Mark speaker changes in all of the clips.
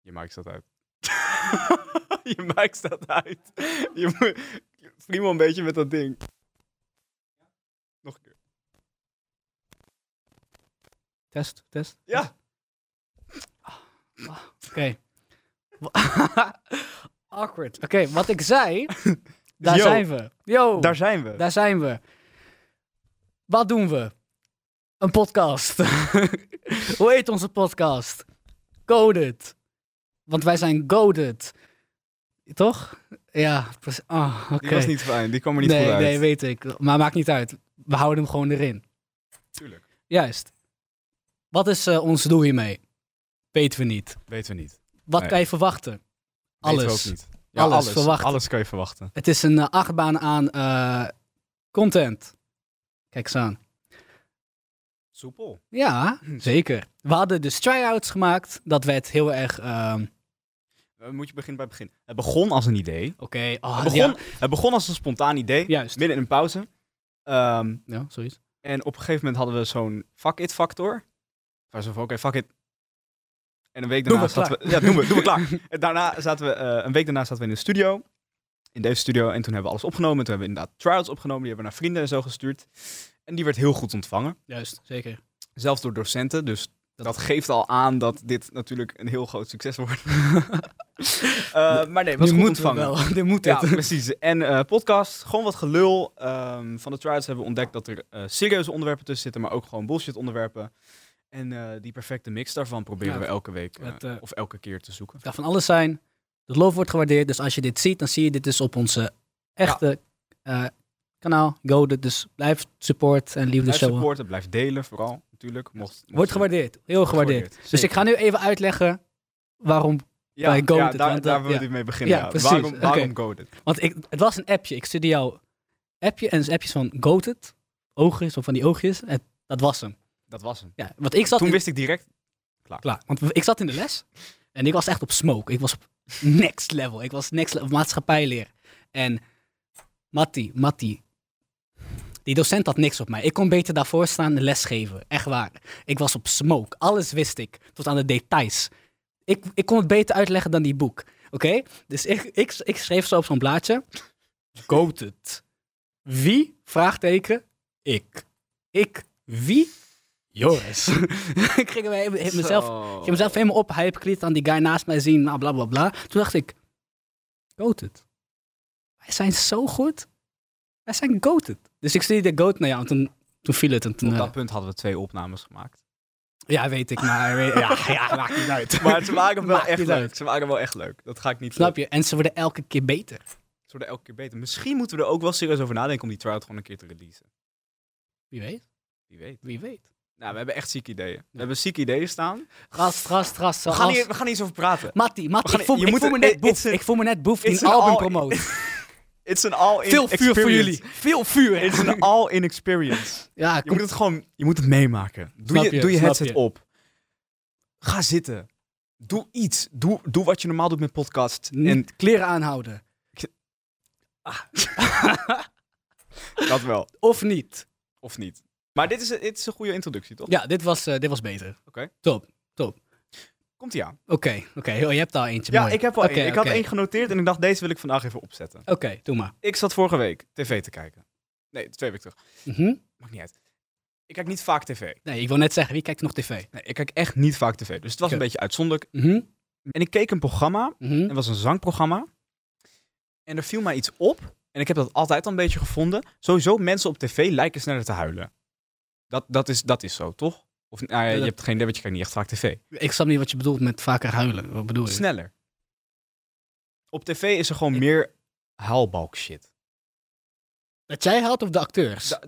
Speaker 1: Je maakt dat uit. je maakt dat uit. Je moet... Friemel een beetje met dat ding. Nog een keer.
Speaker 2: Test, test.
Speaker 1: Ja.
Speaker 2: Oké. Awkward. Oké, wat ik zei, daar
Speaker 1: Yo.
Speaker 2: zijn we. Yo,
Speaker 1: Daar
Speaker 2: daar,
Speaker 1: zijn we.
Speaker 2: zijn we. Wat doen we? Een podcast. Hoe heet onze podcast? Coded. Want wij zijn goaded. Toch? Ja, precies. Ah, oké.
Speaker 1: Die was niet fijn. Die kwam er niet
Speaker 2: nee,
Speaker 1: goed uit.
Speaker 2: nee, weet ik. Maar maakt niet uit. We houden hem gewoon erin.
Speaker 1: Tuurlijk.
Speaker 2: Juist. Wat is eh, ons doel hiermee? Weten we niet.
Speaker 1: Weten we niet.
Speaker 2: Wat
Speaker 1: Nee.
Speaker 2: kan je verwachten?
Speaker 1: Weten we
Speaker 2: Alles.
Speaker 1: ook niet.
Speaker 2: Alles verwachten.
Speaker 1: Alles kan je verwachten.
Speaker 2: Het is een eh, achtbaan aan eh, content. Kijk eens aan.
Speaker 1: Soepel.
Speaker 2: Ja,
Speaker 1: Hm.
Speaker 2: zeker. We hadden dus try-outs gemaakt. Dat werd heel erg... ehm,
Speaker 1: Eh, moet je beginnen bij het begin. Het begon als een idee.
Speaker 2: Oké, ah,
Speaker 1: Het begon,
Speaker 2: ja,
Speaker 1: het begon als een spontaan idee.
Speaker 2: juist.
Speaker 1: Midden in een pauze. Ehm,
Speaker 2: Ja, zoiets.
Speaker 1: en op een gegeven moment hadden we zo'n fuck it factor. Waar ze van, oké, fuck it. En een week
Speaker 2: Doen
Speaker 1: daarna
Speaker 2: we,
Speaker 1: zaten we... Ja, doen we, doen we klaar. En daarna zaten we, eh, een week daarna zaten we in de studio. In deze studio. En toen hebben we alles opgenomen. En toen hebben we inderdaad trials opgenomen. Die hebben we naar vrienden en zo gestuurd. En die werd heel goed ontvangen.
Speaker 2: Juist, zeker.
Speaker 1: Zelfs door docenten. Dus
Speaker 2: Dat-
Speaker 1: dat, geeft al aan dat dit natuurlijk een heel groot succes wordt. Eh, maar nee, het was
Speaker 2: Nu
Speaker 1: goed
Speaker 2: moeten we
Speaker 1: ontvangen.
Speaker 2: wel. Nu moet
Speaker 1: Ja,
Speaker 2: het.
Speaker 1: precies. En eh, podcast, gewoon wat gelul. Ehm, van de tryouts hebben we ontdekt dat er eh, serieuze onderwerpen tussen zitten, maar ook gewoon bullshit onderwerpen. En eh, die perfecte mix daarvan proberen
Speaker 2: Ja,
Speaker 1: we elke week eh,
Speaker 2: het, eh,
Speaker 1: of elke keer te zoeken.
Speaker 2: Het kan van alles zijn. Het loof wordt gewaardeerd. Dus als je dit ziet, dan zie je dit dus op onze echte eh, kanaal. Go, dus blijf support en liefde
Speaker 1: Blijf
Speaker 2: showen.
Speaker 1: supporten, blijf delen vooral, natuurlijk. Mocht, mocht
Speaker 2: eh. Wordt
Speaker 1: je-
Speaker 2: gewaardeerd. Heel gewaardeerd. Dus ik ga nu even uitleggen waarom.
Speaker 1: ja,
Speaker 2: bij Goated,
Speaker 1: ja,
Speaker 2: want
Speaker 1: daar,
Speaker 2: dat-
Speaker 1: daar wilde
Speaker 2: ja.
Speaker 1: ik mee beginnen.
Speaker 2: Ja,
Speaker 1: ja.
Speaker 2: precies.
Speaker 1: Waarom, waarom
Speaker 2: Oké.
Speaker 1: Goated?
Speaker 2: Want ik, het was een appje. Ik stuurde jou appje en dus appjes van Goated. Oogjes of van die oogjes. En dat was hem.
Speaker 1: Dat was hem.
Speaker 2: Ja, want ik zat
Speaker 1: Toen
Speaker 2: in,
Speaker 1: wist ik direct,
Speaker 2: klaar. Want ik zat in de les en ik was echt op smoke. Ik was op next level. Ik was next level maatschappijleer. En Matti, Matti, die docent had niks op mij. Ik kon beter daarvoor staan en lesgeven. Echt waar. Ik was op smoke. Alles wist ik, tot aan de details. Ik, ik kon het beter uitleggen dan die boek. Oké? Dus ik, ik, ik schreef zo op zo'n blaadje. Goated. Wie? Vraagteken. Ik. Ik. Wie? Joris. ik ging me- me- mezelf
Speaker 1: Zo.
Speaker 2: ik heb mezelf helemaal ophypen, ik liet aan die guy naast mij zien, nou, bla bla bla. Toen dacht ik, goated. Wij zijn zo goed. Wij zijn goated. Dus ik stuurde de goat naar jou en toen, toen viel het. En toen,
Speaker 1: Op
Speaker 2: eh,
Speaker 1: dat punt hadden we twee opnames gemaakt.
Speaker 2: ja, weet ik, maar weet- ja, ja, maakt niet uit.
Speaker 1: Maar ze waren wel
Speaker 2: Maakt
Speaker 1: echt
Speaker 2: niet
Speaker 1: leuk.
Speaker 2: uit.
Speaker 1: Ze waren wel echt leuk. Dat ga ik niet eh,
Speaker 2: Snap je? En ze worden elke keer beter.
Speaker 1: Ze worden elke keer beter. Misschien moeten we er ook wel serieus over nadenken om die tryout gewoon een keer te releasen.
Speaker 2: Wie weet,
Speaker 1: Wie weet.
Speaker 2: wie weet.
Speaker 1: Nou, we hebben echt zieke ideeën. We hebben zieke ideeën staan.
Speaker 2: Gast, gast, gast.
Speaker 1: We gaan, hier, we gaan hier eens over praten.
Speaker 2: Mattie, Mattie,
Speaker 1: gaan-
Speaker 2: ik voel,
Speaker 1: je
Speaker 2: ik
Speaker 1: moet
Speaker 2: voel me
Speaker 1: het-
Speaker 2: net
Speaker 1: it-
Speaker 2: boef.
Speaker 1: it's a-
Speaker 2: Ik voel me net boef die
Speaker 1: it's
Speaker 2: een
Speaker 1: an
Speaker 2: album
Speaker 1: all-
Speaker 2: promoot.
Speaker 1: It's an all-in
Speaker 2: Veel vuur voor
Speaker 1: experience.
Speaker 2: jullie. Veel vuur.
Speaker 1: It's an all-in experience.
Speaker 2: Ja,
Speaker 1: Je moet het gewoon... Je moet het meemaken. Doe
Speaker 2: Snap
Speaker 1: je,
Speaker 2: je,
Speaker 1: doe je
Speaker 2: snap
Speaker 1: headset
Speaker 2: je.
Speaker 1: op. Ga zitten. Doe iets. Doe, doe wat je normaal doet met podcast. En
Speaker 2: en kleren aanhouden.
Speaker 1: dat wel.
Speaker 2: Of niet.
Speaker 1: Of niet. Maar dit is, een- dit is een goede introductie, toch?
Speaker 2: Ja, dit was, eh, dit was beter.
Speaker 1: Oké.
Speaker 2: Top.
Speaker 1: Komt-ie aan.
Speaker 2: Oké, oké. Oh, je hebt al eentje.
Speaker 1: Ja,
Speaker 2: mooi.
Speaker 1: ik heb al
Speaker 2: Oké,
Speaker 1: één. Ik
Speaker 2: oké.
Speaker 1: had één genoteerd en ik dacht, deze wil ik vandaag even opzetten.
Speaker 2: Oké, doe maar.
Speaker 1: Ik zat vorige week tv te kijken. Nee, twee weken terug.
Speaker 2: Mhm.
Speaker 1: Maakt niet uit. Ik kijk niet vaak tv.
Speaker 2: Nee, ik wil net zeggen, wie kijkt er nog tv?
Speaker 1: Nee, ik kijk echt niet vaak tv. Dus het was
Speaker 2: Oké.
Speaker 1: een beetje uitzonderlijk.
Speaker 2: Mhm,
Speaker 1: En ik keek een programma.
Speaker 2: mhm.
Speaker 1: Het was een zangprogramma. En er viel mij iets op. En ik heb dat altijd al een beetje gevonden. Sowieso, mensen op tv lijken sneller te huilen. Dat, dat, is, dat is zo, toch? Of nou ja,
Speaker 2: dat-
Speaker 1: je hebt geen idee, want je kijkt niet echt vaak tv.
Speaker 2: Ik snap niet wat je bedoelt met vaker huilen. Wat bedoel je?
Speaker 1: Sneller. Op tv is er gewoon
Speaker 2: Ik-
Speaker 1: meer huilbalk shit.
Speaker 2: Dat jij houdt of de acteurs?
Speaker 1: Da-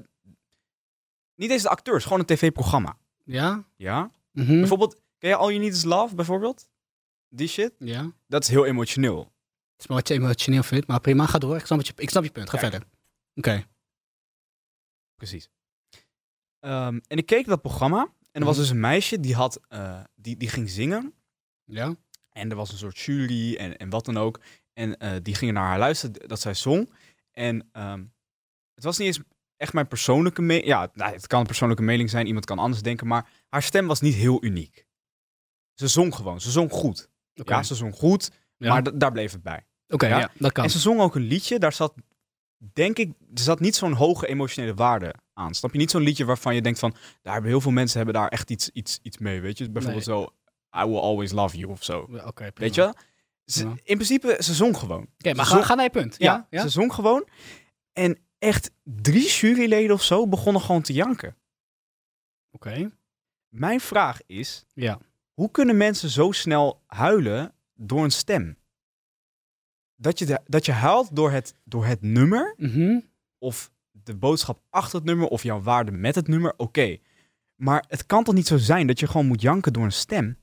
Speaker 1: niet eens de acteurs, gewoon een tv-programma.
Speaker 2: Ja?
Speaker 1: Ja?
Speaker 2: Mhm.
Speaker 1: Bijvoorbeeld, ken je All You Need Is Love, bijvoorbeeld? Die shit.
Speaker 2: Ja. Het
Speaker 1: Dat is heel emotioneel.
Speaker 2: is maar wat je emotioneel vindt, maar prima, ga door. Ik snap, wat je, ik snap je punt, ga
Speaker 1: Kijk.
Speaker 2: verder. Oké.
Speaker 1: Precies. Ehm, en ik keek dat programma. En er was dus een meisje die, had, eh, die, die ging zingen.
Speaker 2: Ja?
Speaker 1: En er was een soort jury en, en wat dan ook. En eh, die gingen naar haar luisteren dat zij zong. En ehm, het was niet eens echt mijn persoonlijke mening. Ja, nou, het kan een persoonlijke mening zijn. Iemand kan anders denken. Maar haar stem was niet heel uniek. Ze zong gewoon. Ze zong goed.
Speaker 2: Oké.
Speaker 1: Ja, ze zong goed,
Speaker 2: Ja.
Speaker 1: maar da- daar bleef het bij.
Speaker 2: Oké,
Speaker 1: Ja.
Speaker 2: ja. dat kan.
Speaker 1: En ze zong ook een liedje, daar zat, denk ik, er zat niet zo'n hoge emotionele waarde aan. Snap je? Niet zo'n liedje waarvan je denkt van, daar hebben heel veel mensen hebben daar echt iets, iets, iets mee, weet je? Bijvoorbeeld zo, I will always love you of zo.
Speaker 2: Ja, Oké, prima.
Speaker 1: Weet je wel? Ze-
Speaker 2: Ja.
Speaker 1: In principe, ze zong gewoon.
Speaker 2: Oké, maar
Speaker 1: Ze
Speaker 2: ga,
Speaker 1: zong-
Speaker 2: ga naar je punt. Ja, ja?
Speaker 1: ze zong gewoon. En echt drie juryleden of zo begonnen gewoon te janken.
Speaker 2: Oké.
Speaker 1: Mijn vraag is,
Speaker 2: Ja.
Speaker 1: hoe kunnen mensen zo snel huilen door een stem? Dat je, de- dat je huilt door het, door het nummer
Speaker 2: Mhm.
Speaker 1: of de boodschap achter het nummer of jouw waarde met het nummer, oké. Maar het kan toch niet zo zijn dat je gewoon moet janken door een stem?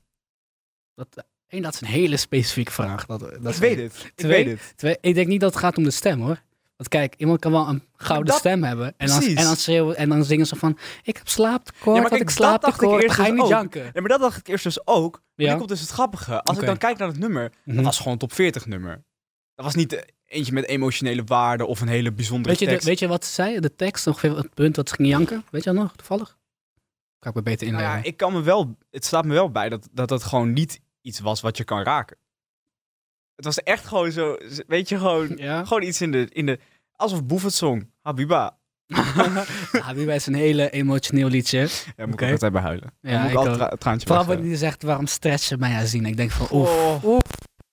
Speaker 2: dat, eh, één, dat is een hele specifieke vraag. Dat, dat
Speaker 1: Ik
Speaker 2: is-
Speaker 1: weet het. Ik
Speaker 2: Twee,
Speaker 1: weet het.
Speaker 2: Twee, ik denk niet dat het gaat om de stem hoor. Want kijk, iemand kan wel een gouden
Speaker 1: dat-
Speaker 2: stem hebben. En dan,
Speaker 1: precies.
Speaker 2: en dan schreeuwen en dan zingen ze van: Ik heb slaaptekort.
Speaker 1: Ja, maar
Speaker 2: want
Speaker 1: kijk,
Speaker 2: ik
Speaker 1: dat
Speaker 2: slaaptekort.
Speaker 1: dacht ik
Speaker 2: Dan ga je
Speaker 1: eerst
Speaker 2: niet
Speaker 1: dus ook.
Speaker 2: janken.
Speaker 1: Ja, maar dat dacht ik eerst dus ook. Maar
Speaker 2: Ja.
Speaker 1: nu komt dus het grappige. Als
Speaker 2: Oké.
Speaker 1: ik dan kijk naar het nummer,
Speaker 2: Mhm.
Speaker 1: dat was gewoon een top 40 nummer. Dat was niet eh, eentje met emotionele waarde of een hele bijzondere
Speaker 2: Weet je, de-
Speaker 1: tekst.
Speaker 2: weet je wat ze zei? De tekst, ongeveer het punt dat ze ging janken. Weet je dat nog, toevallig? Kan ik me beter
Speaker 1: Nou
Speaker 2: inleven.
Speaker 1: ja, ik kan me wel, het staat me wel bij dat, dat dat gewoon niet iets was wat je kan raken. Het was echt gewoon zo, weet je, gewoon,
Speaker 2: Ja,
Speaker 1: gewoon iets in de, in de, alsof Boef het zong. Habiba.
Speaker 2: Habiba is Ah, een hele emotioneel liedje.
Speaker 1: Ja, moet
Speaker 2: Oké.
Speaker 1: ik altijd bij huilen. Dan
Speaker 2: Ja,
Speaker 1: moet ik,
Speaker 2: ik
Speaker 1: altijd
Speaker 2: ook.
Speaker 1: tra- traantje
Speaker 2: Vooral wat
Speaker 1: wegzetten.
Speaker 2: die zegt, waarom stretch je mij aan zien? Ik denk van, oef.
Speaker 1: Oef.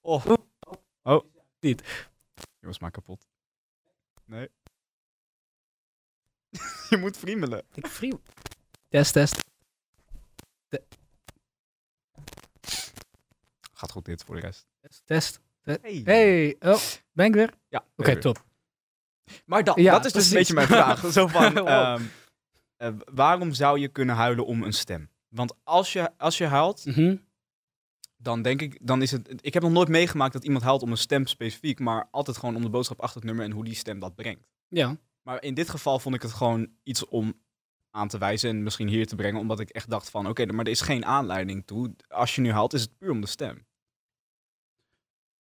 Speaker 2: Oef.
Speaker 1: Oh.
Speaker 2: Oef.
Speaker 1: Oh.
Speaker 2: Niet.
Speaker 1: Jongens, maak kapot. Nee. je moet friemelen.
Speaker 2: Ik vriel. Test, test.
Speaker 1: Gaat goed dit voor de rest.
Speaker 2: Test, test.
Speaker 1: Hey.
Speaker 2: Hey, oh, ben ik weer? Oké,
Speaker 1: Ja, oké.
Speaker 2: top.
Speaker 1: Maar dat,
Speaker 2: Ja,
Speaker 1: dat is dus
Speaker 2: precies.
Speaker 1: een beetje mijn vraag. Zo van,
Speaker 2: Wow.
Speaker 1: ehm, eh, waarom zou je kunnen huilen om een stem? Want als je, als je huilt,
Speaker 2: Mhm.
Speaker 1: dan denk ik, dan is het... Ik heb nog nooit meegemaakt dat iemand huilt om een stem specifiek, maar altijd gewoon om de boodschap achter het nummer en hoe die stem dat brengt.
Speaker 2: Ja.
Speaker 1: Maar in dit geval vond ik het gewoon iets om aan te wijzen en misschien hier te brengen, omdat ik echt dacht van, oké, maar er is geen aanleiding toe. Als je nu haalt, is het puur om de stem.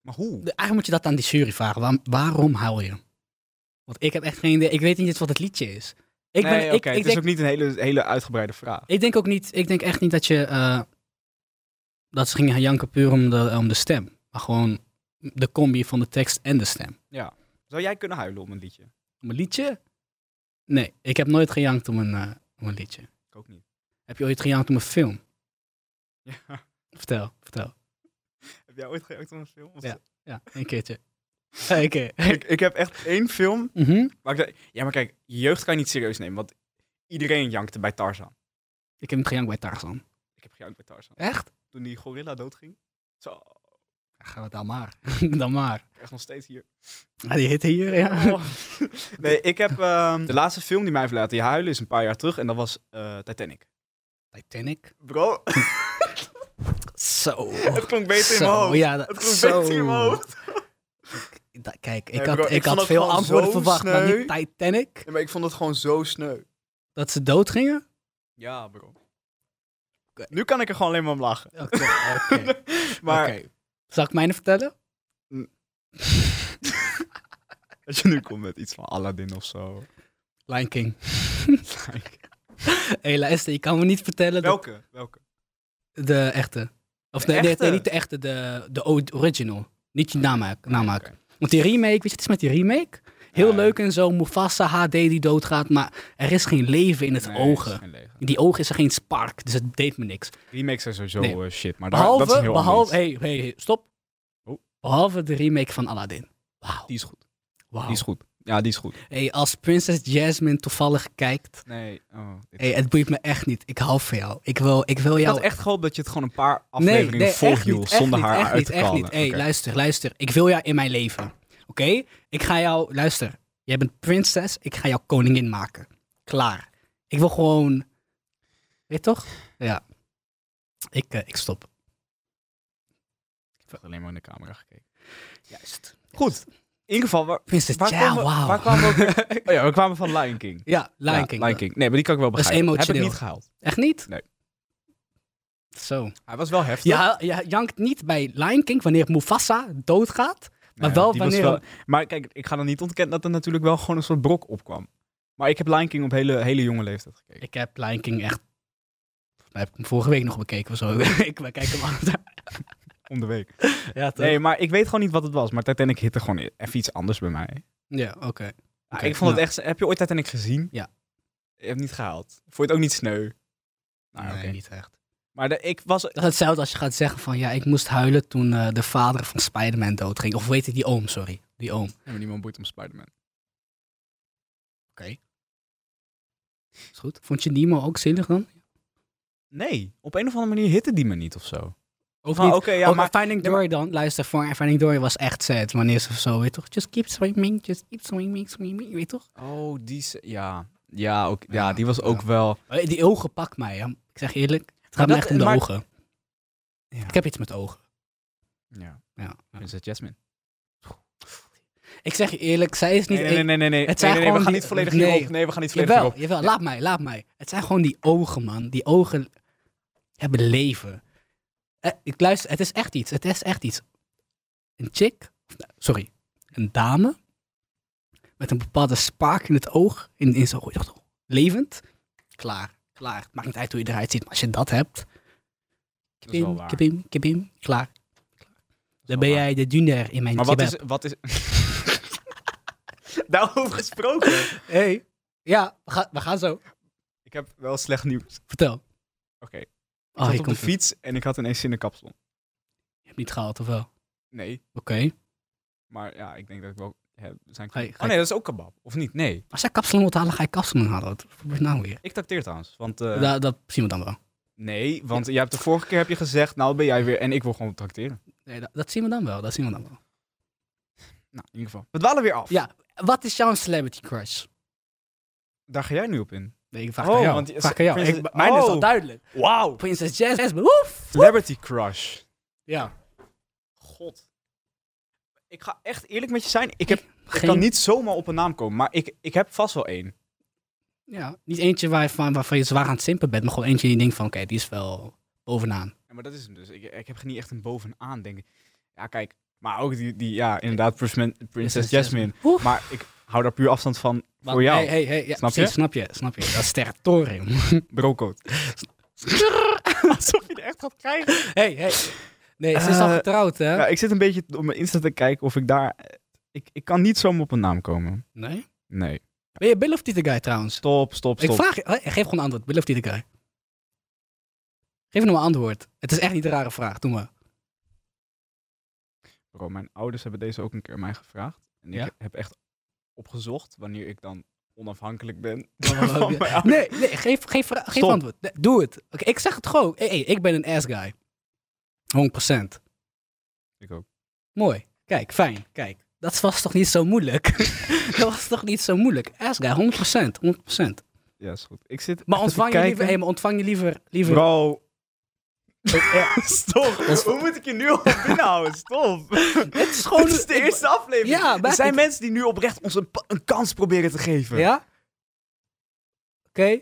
Speaker 1: Maar hoe?
Speaker 2: De- Eigenlijk moet je dat aan die jury vragen. Waarom, waarom huil je? Want ik heb echt geen idee. Ik weet niet eens wat het liedje is. Ik, ben,
Speaker 1: nee, oké,
Speaker 2: ik, ik
Speaker 1: het
Speaker 2: denk,
Speaker 1: is ook niet een hele, hele uitgebreide vraag.
Speaker 2: ik denk ook niet. Ik denk echt niet dat je. eh, dat ze gingen janken puur om de, om de stem. Maar gewoon de combi van de tekst en de stem.
Speaker 1: Zou jij kunnen huilen om een liedje?
Speaker 2: Om een liedje? Nee, ik heb nooit gejankt om een, eh, om een liedje.
Speaker 1: Ik ook niet.
Speaker 2: Heb je ooit gejankt om een film? Vertel, vertel.
Speaker 1: Heb jij ooit gejankt om een film? Of-
Speaker 2: Ja, een keertje. Een keer.
Speaker 1: Ik, ik heb echt één film.
Speaker 2: Mhm.
Speaker 1: Waar ik dacht- ja, maar kijk, je jeugd kan je niet serieus nemen. Want iedereen jankte bij Tarzan.
Speaker 2: Ik heb niet gejankt bij Tarzan.
Speaker 1: Ik heb gejankt bij Tarzan.
Speaker 2: Echt?
Speaker 1: Toen die gorilla doodging. Zo, ik
Speaker 2: Ja, Gaan we dan maar. dan maar.
Speaker 1: heb echt nog steeds hier.
Speaker 2: Ah, die hitte hier, ja.
Speaker 1: Oh. Nee, ik heb ehm, de laatste film die mij heeft laten huilen is een paar jaar terug. En dat was eh, Titanic.
Speaker 2: Titanic.
Speaker 1: Bro,
Speaker 2: Zo.
Speaker 1: het klonk beter in
Speaker 2: Zo,
Speaker 1: mijn hoofd.
Speaker 2: Ja, dat,
Speaker 1: Het klonk
Speaker 2: zo.
Speaker 1: beter in mijn hoofd.
Speaker 2: Da- kijk, ik
Speaker 1: Nee,
Speaker 2: had,
Speaker 1: bro,
Speaker 2: ik
Speaker 1: ik vond
Speaker 2: had
Speaker 1: het
Speaker 2: veel
Speaker 1: gewoon
Speaker 2: antwoorden
Speaker 1: zo
Speaker 2: verwacht, maar niet
Speaker 1: sneu.
Speaker 2: Titanic.
Speaker 1: Ja, maar ik vond het gewoon zo sneu.
Speaker 2: Dat ze dood gingen?
Speaker 1: Ja, bro.
Speaker 2: Oké.
Speaker 1: Nu kan ik er gewoon alleen maar om lachen.
Speaker 2: Oké, oké.
Speaker 1: Maar
Speaker 2: oké. Zal ik mijne vertellen?
Speaker 1: als je nu komt met iets van Aladdin of zo.
Speaker 2: Lion King. Hé, luister, je kan me niet vertellen dat
Speaker 1: Welke? Welke?
Speaker 2: de echte. Of
Speaker 1: De
Speaker 2: nee, nee,
Speaker 1: echte?
Speaker 2: nee, niet de echte, de, de o- original. Niet je namaak. namaak.
Speaker 1: Oké.
Speaker 2: Want die remake, weet je, het is met die remake. Heel
Speaker 1: Ja.
Speaker 2: leuk en zo, Mufasa HD die doodgaat, maar er is geen leven in het
Speaker 1: Nee,
Speaker 2: ogen.
Speaker 1: is geen leger.
Speaker 2: In die ogen is er geen spark, dus het deed me niks.
Speaker 1: Remakes zijn sowieso
Speaker 2: Nee.
Speaker 1: eh, shit, maar daar-
Speaker 2: Behalve,
Speaker 1: dat is een heel
Speaker 2: behalve,
Speaker 1: anders.
Speaker 2: hey, hey, hey, stop.
Speaker 1: Oh.
Speaker 2: Behalve de remake van Aladdin. Wauw.
Speaker 1: Die is goed.
Speaker 2: Wauw.
Speaker 1: Die is goed. Ja, die is goed.
Speaker 2: Hey, als Princess Jasmine toevallig kijkt,
Speaker 1: Nee. Oh, dit-
Speaker 2: hey, het boeit me echt niet. Ik hou van jou. Ik wil, ik wil
Speaker 1: Ik
Speaker 2: jou.
Speaker 1: had echt gehoopt dat je het gewoon een paar
Speaker 2: nee,
Speaker 1: afleveringen
Speaker 2: nee,
Speaker 1: vol
Speaker 2: echt
Speaker 1: hield
Speaker 2: niet, echt
Speaker 1: zonder
Speaker 2: niet,
Speaker 1: haar
Speaker 2: echt
Speaker 1: uit
Speaker 2: niet,
Speaker 1: te
Speaker 2: echt
Speaker 1: kallen.
Speaker 2: niet. Hey,
Speaker 1: Oké.
Speaker 2: luister, luister. Ik wil jou in mijn leven. Oké? Ik ga jou, luister. Jij bent prinses, ik ga jou koningin maken. Klaar. Ik wil gewoon, weet je toch? Ja. Ik, eh, ik stop.
Speaker 1: Ik heb alleen maar in de camera gekeken.
Speaker 2: Juist.
Speaker 1: Goed. In ieder geval, waar,
Speaker 2: Prinses,
Speaker 1: waar,
Speaker 2: ja,
Speaker 1: kwamen, we-
Speaker 2: wauw.
Speaker 1: waar kwamen we ook weer- Oh ja, we kwamen van Lion King.
Speaker 2: Ja, Lion
Speaker 1: Ja,
Speaker 2: King.
Speaker 1: Lion King. Nee, maar die kan ik wel
Speaker 2: Dat is
Speaker 1: begrijpen. Heb ik
Speaker 2: emotioneel.
Speaker 1: niet gehaald.
Speaker 2: Echt niet?
Speaker 1: Nee.
Speaker 2: Zo.
Speaker 1: Hij was wel heftig.
Speaker 2: Ja, je jankt niet bij Lion King wanneer Mufasa doodgaat. Maar
Speaker 1: Nee,
Speaker 2: wel
Speaker 1: die was
Speaker 2: wanneer...
Speaker 1: Maar kijk, ik ga dan niet ontkennen dat er natuurlijk wel gewoon een soort brok opkwam. Maar ik heb Lion King op hele, hele jonge leeftijd gekeken.
Speaker 2: Ik heb Lion King echt... Volgens mij heb ik hem vorige week nog bekeken of zo. ik bekijk hem altijd.
Speaker 1: om de week.
Speaker 2: Ja, toch?
Speaker 1: Nee, maar ik weet gewoon niet wat het was. Maar Titanic hitte gewoon e- even iets anders bij mij.
Speaker 2: Ja, oké.
Speaker 1: Ja,
Speaker 2: Oké,
Speaker 1: Ah, ik vond
Speaker 2: nou.
Speaker 1: het echt... Heb je ooit Titanic gezien?
Speaker 2: Ja.
Speaker 1: Je hebt niet gehaald. Vond je het ook niet sneu? Nou, oké.
Speaker 2: ah, Nee, niet echt.
Speaker 1: Maar de, ik was...
Speaker 2: Dat is hetzelfde als je gaat zeggen van... Ja, ik moest huilen toen eh, de vader van Spider-Man doodging. Of weet ik, die oom, sorry. Die oom.
Speaker 1: Ja, maar niemand boeit om Spider-Man.
Speaker 2: Is goed. Vond je Nemo ook zinnig dan?
Speaker 1: Nee, op een of andere manier hitte die me niet of zo.
Speaker 2: Ook
Speaker 1: Van,
Speaker 2: niet.
Speaker 1: Oké, Nou, ja,
Speaker 2: Oh,
Speaker 1: maar...
Speaker 2: Finding
Speaker 1: nee,
Speaker 2: Dory dan, luister, voor Finding Dory was echt sad wanneer ze zo, weet toch? Just keep swimming, just keep swimming, swimming, weet toch?
Speaker 1: Oh, die... se- Ja, ja, ook, ja,
Speaker 2: Ja,
Speaker 1: die was
Speaker 2: ja.
Speaker 1: ook wel...
Speaker 2: Eh, Die ogen pak mij, hè. ik zeg je eerlijk. Het gaat me
Speaker 1: dat-
Speaker 2: echt om de
Speaker 1: maar-
Speaker 2: ogen.
Speaker 1: Ja.
Speaker 2: Ik heb iets met ogen.
Speaker 1: Ja,
Speaker 2: Ja.
Speaker 1: Princess Jasmine.
Speaker 2: Ik zeg je eerlijk, zij is niet...
Speaker 1: Nee, nee, nee, nee. nee, nee,
Speaker 2: Het
Speaker 1: nee,
Speaker 2: zijn
Speaker 1: nee, we
Speaker 2: gewoon
Speaker 1: gaan
Speaker 2: die-
Speaker 1: niet volledig
Speaker 2: nee.
Speaker 1: hierop. Nee, we gaan niet volledig
Speaker 2: Jawel,
Speaker 1: hierop.
Speaker 2: jawel, laat mij, laat mij. Het zijn gewoon die ogen, man. Die ogen hebben leven. Eh, ik luister, het is echt iets, het is echt iets. Een chick, of, nou, sorry, een dame met een bepaalde spaak in het oog, in, in zo'n oog, levend. Klaar, klaar. Het maakt niet uit hoe je eruit ziet, maar als je dat hebt,
Speaker 1: Dat is wel
Speaker 2: kibim,
Speaker 1: waar.
Speaker 2: kibim, kibim, klaar. Dan
Speaker 1: wel
Speaker 2: ben
Speaker 1: waar.
Speaker 2: jij de duner in mijn
Speaker 1: Maar wat
Speaker 2: kebab.
Speaker 1: is... Wat is... Daarover gesproken.
Speaker 2: Hey. Ja, we gaan, we gaan zo.
Speaker 1: Ik heb wel slecht nieuws.
Speaker 2: Vertel.
Speaker 1: Oké. Ik
Speaker 2: Oh,
Speaker 1: zat
Speaker 2: hier
Speaker 1: op de
Speaker 2: komt het.
Speaker 1: fiets en ik had ineens zin in kapsalon.
Speaker 2: Je hebt niet gehaald, of wel? Oké.
Speaker 1: Nee, maar ja, ik denk dat ik wel... Hè, zijn...
Speaker 2: Ga je- ga
Speaker 1: oh nee, dat is ook kebab. Of niet? Nee.
Speaker 2: Als jij kapsalon wilt halen, ga je kapsalon halen. Wat gebeurt nou weer?
Speaker 1: Ik tacteer trouwens. Want eh,
Speaker 2: Da- dat zien we dan wel.
Speaker 1: nee, want jij hebt de vorige keer heb je gezegd... Nou, ben jij weer... En ik wil gewoon tracteren.
Speaker 2: Nee, dat, dat zien we dan wel. Dat zien we dan wel.
Speaker 1: Nou, in ieder geval. We dwalen weer af.
Speaker 2: Ja. Wat is jouw celebrity crush?
Speaker 1: Daar ga jij nu op in.
Speaker 2: Nee, ik vraag
Speaker 1: Oh,
Speaker 2: aan jou.
Speaker 1: want je-
Speaker 2: vraag aan jou.
Speaker 1: Prinses-
Speaker 2: Ik- mijn is al
Speaker 1: Oh.
Speaker 2: duidelijk.
Speaker 1: Wauw.
Speaker 2: Princess Jasmine. Woef!
Speaker 1: Celebrity crush.
Speaker 2: Ja.
Speaker 1: God. Ik ga echt eerlijk met je zijn. Ik, heb, ik kan niet zomaar op een naam komen. Maar ik, ik heb vast wel één.
Speaker 2: Ja, niet eentje waarvan, waarvan je zwaar aan het simpen bent, maar gewoon eentje die je denkt van, oké, die is wel bovenaan.
Speaker 1: Ja, maar dat is hem dus. Ik, ik heb niet echt een bovenaan, denk ik. Ja, kijk. Maar ook die, die ja, inderdaad, Prismen- Princess Jasmine.
Speaker 2: Woef!
Speaker 1: Maar ik hou daar puur afstand van
Speaker 2: Wat-
Speaker 1: voor jou.
Speaker 2: Hey, hey, hey, ja,
Speaker 1: Snap
Speaker 2: snap,
Speaker 1: je?
Speaker 2: je? snap je? Snap je? Dat is territorium.
Speaker 1: Brocode. Alsof je er echt gaat krijgen.
Speaker 2: hey, hey. Nee, ze is al
Speaker 1: Eh,
Speaker 2: getrouwd, hè?
Speaker 1: Ja, ik zit een beetje op mijn Insta te kijken of ik daar... eh, Ik, ik kan niet zomaar op een naam komen.
Speaker 2: Nee?
Speaker 1: Nee.
Speaker 2: Ben je Bill of Tita Guy trouwens?
Speaker 1: Stop, stop,
Speaker 2: Ik
Speaker 1: stop.
Speaker 2: vraag je, eh, geef gewoon een antwoord. Bill of Tita Guy? Geef hem een antwoord. Het is echt niet een rare vraag, doe maar.
Speaker 1: Bro, Oh, mijn ouders hebben deze ook een keer mij gevraagd. En ik
Speaker 2: Ja?
Speaker 1: heb echt opgezocht wanneer ik dan onafhankelijk ben.
Speaker 2: Oh,
Speaker 1: van
Speaker 2: ja.
Speaker 1: mijn ouders.
Speaker 2: Nee, nee geef, geef, vra- geef
Speaker 1: Stop.
Speaker 2: antwoord. Nee, doe het. Oké, ik zeg het gewoon. Hey, hey, ik ben een ass guy. 100%.
Speaker 1: Ik ook.
Speaker 2: Mooi. Kijk, fijn. Kijk. Dat was toch niet zo moeilijk? dat was toch niet zo moeilijk? Ass guy, 100%. 100%.
Speaker 1: Ja, is goed. Ik zit
Speaker 2: Maar
Speaker 1: echt te
Speaker 2: ontvang je liever,
Speaker 1: kijken.
Speaker 2: hey, maar ontvang je liever, liever
Speaker 1: Bro. Oh, Stop. Hoe moet ik je nu al binnenhouden? Stop.
Speaker 2: Het is gewoon...
Speaker 1: Dit is de
Speaker 2: ik-
Speaker 1: eerste aflevering.
Speaker 2: Ja,
Speaker 1: er
Speaker 2: maar
Speaker 1: zijn
Speaker 2: ik-
Speaker 1: mensen die nu oprecht ons een, pa- een kans proberen te geven.
Speaker 2: Ja? Oké.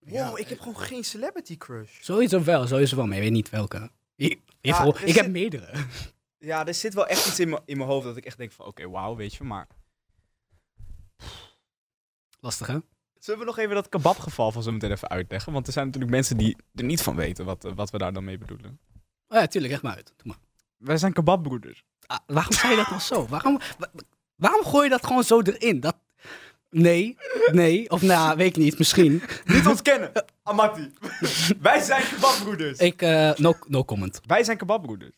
Speaker 1: Wow, ik heb gewoon geen celebrity crush.
Speaker 2: Sowieso wel, sowieso wel, maar je weet niet welke. Je- je hebt gewoon-
Speaker 1: er
Speaker 2: ik heb
Speaker 1: zit-
Speaker 2: meerdere.
Speaker 1: Ja, er zit wel echt iets in mijn in mijn hoofd dat ik echt denk van... Oké, wauw, weet je, maar...
Speaker 2: Lastig, hè?
Speaker 1: Zullen we nog even dat kebabgeval van zo meteen even uitleggen? Want er zijn natuurlijk mensen die er niet van weten wat, eh, wat we daar dan mee bedoelen.
Speaker 2: Oh ja, tuurlijk, leg maar uit. Doe maar.
Speaker 1: Wij zijn kebabbroeders.
Speaker 2: Ah, waarom zei je dat nou zo? Waarom, wa- wa- waarom gooi je dat gewoon zo erin? Dat... Nee, nee, of nou, weet ik niet, misschien.
Speaker 1: Niet ontkennen, Amati. Wij zijn kebabbroeders.
Speaker 2: Ik, eh, no, no comment.
Speaker 1: Wij zijn kebabbroeders.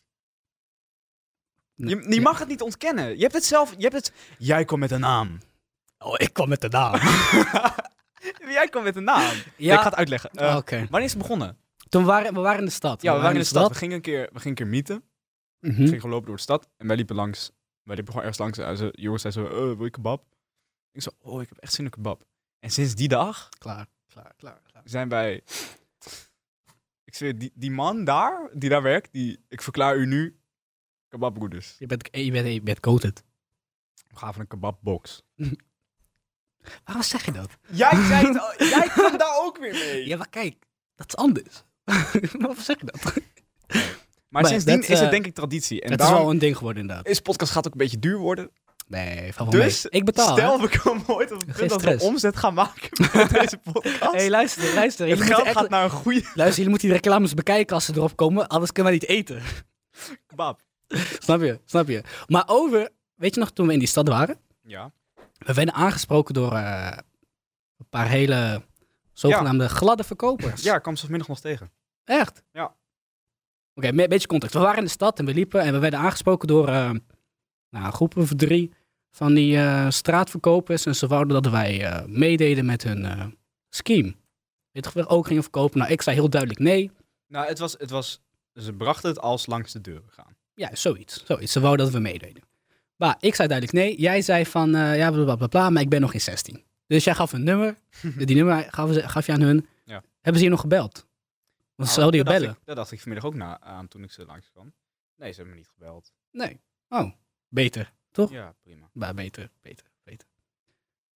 Speaker 2: Nee.
Speaker 1: Je, je mag het niet ontkennen. Je hebt het zelf. Je hebt het... Jij komt met een naam.
Speaker 2: Oh, ik kwam met de naam.
Speaker 1: Jij komt met een naam.
Speaker 2: Ja.
Speaker 1: Ik ga het uitleggen. Eh,
Speaker 2: Oh, Oké.
Speaker 1: Wanneer is het begonnen?
Speaker 2: Toen waren we waren in de stad.
Speaker 1: Ja, we waren in de stad. We gingen een keer, we gingen een keer meeten.
Speaker 2: Mhm.
Speaker 1: We gingen gewoon lopen door de stad. En wij liepen langs. Wij liepen gewoon ergens langs. En ze, jongens zei zo, eh, wil je kebab? Ik zo, oh, ik heb echt zin in kebab. En sinds die dag
Speaker 2: Klaar, klaar, klaar. klaar.
Speaker 1: zijn wij... Ik zweer, die, die man daar, die daar werkt, die, ik verklaar u nu kebabbroeders.
Speaker 2: Je bent, je bent, je bent goated.
Speaker 1: We gaven een kebabbox.
Speaker 2: Waarom zeg je dat?
Speaker 1: Jij, zei het al- jij kwam daar ook weer mee.
Speaker 2: Ja, maar kijk, dat is anders. Waarom zeg je dat?
Speaker 1: Maar
Speaker 2: Maar
Speaker 1: sindsdien
Speaker 2: dat,
Speaker 1: is het
Speaker 2: eh,
Speaker 1: denk ik traditie. En
Speaker 2: het
Speaker 1: daarom
Speaker 2: is wel een ding geworden, inderdaad.
Speaker 1: is podcast gaat ook een beetje duur worden.
Speaker 2: Nee, van wel
Speaker 1: Dus,
Speaker 2: mee. Ik betaal. hè?
Speaker 1: Stel, we komen ooit op het
Speaker 2: Geen
Speaker 1: punt dat we
Speaker 2: stress.
Speaker 1: omzet gaan maken met deze podcast.
Speaker 2: hey, luister, luister.
Speaker 1: het
Speaker 2: Jullie
Speaker 1: geld
Speaker 2: moeten echt-
Speaker 1: gaat naar een goede
Speaker 2: Luister, jullie moeten die reclames bekijken als ze erop komen, anders kunnen wij niet eten.
Speaker 1: kebab.
Speaker 2: snap je? Snap je? Maar over, weet je nog toen we in die stad waren?
Speaker 1: Ja.
Speaker 2: We werden aangesproken door eh, een paar hele zogenaamde gladde verkopers.
Speaker 1: Ja, ik kwam ze vanmiddag nog tegen.
Speaker 2: Echt?
Speaker 1: Ja.
Speaker 2: Oké, een beetje context. We waren in de stad en we liepen en we werden aangesproken door eh, nou, een groep of drie van die eh, straatverkopers. En ze wouden dat wij eh, meededen met hun eh, scheme. Weet je, we ook gingen verkopen. Nou, ik zei heel duidelijk nee.
Speaker 1: Nou, het was, het was, ze brachten het als langs de deuren gaan.
Speaker 2: Ja, zoiets. zoiets. Ze wouden dat we meededen. Maar ik zei duidelijk nee. Jij zei van, eh, ja, bla, bla, bla, bla, maar ik ben nog geen 16. Dus jij gaf een nummer. die nummer gaf, ze- gaf je aan hun.
Speaker 1: Ja.
Speaker 2: Hebben ze je nog gebeld? Want
Speaker 1: Nou,
Speaker 2: ze zouden je
Speaker 1: daar dacht
Speaker 2: bellen.
Speaker 1: ik- Daar dacht ik vanmiddag ook na, aan toen ik ze langs kwam. Nee, ze hebben me niet gebeld.
Speaker 2: Nee. Oh, beter. Toch?
Speaker 1: Ja, prima.
Speaker 2: Maar beter, beter, beter.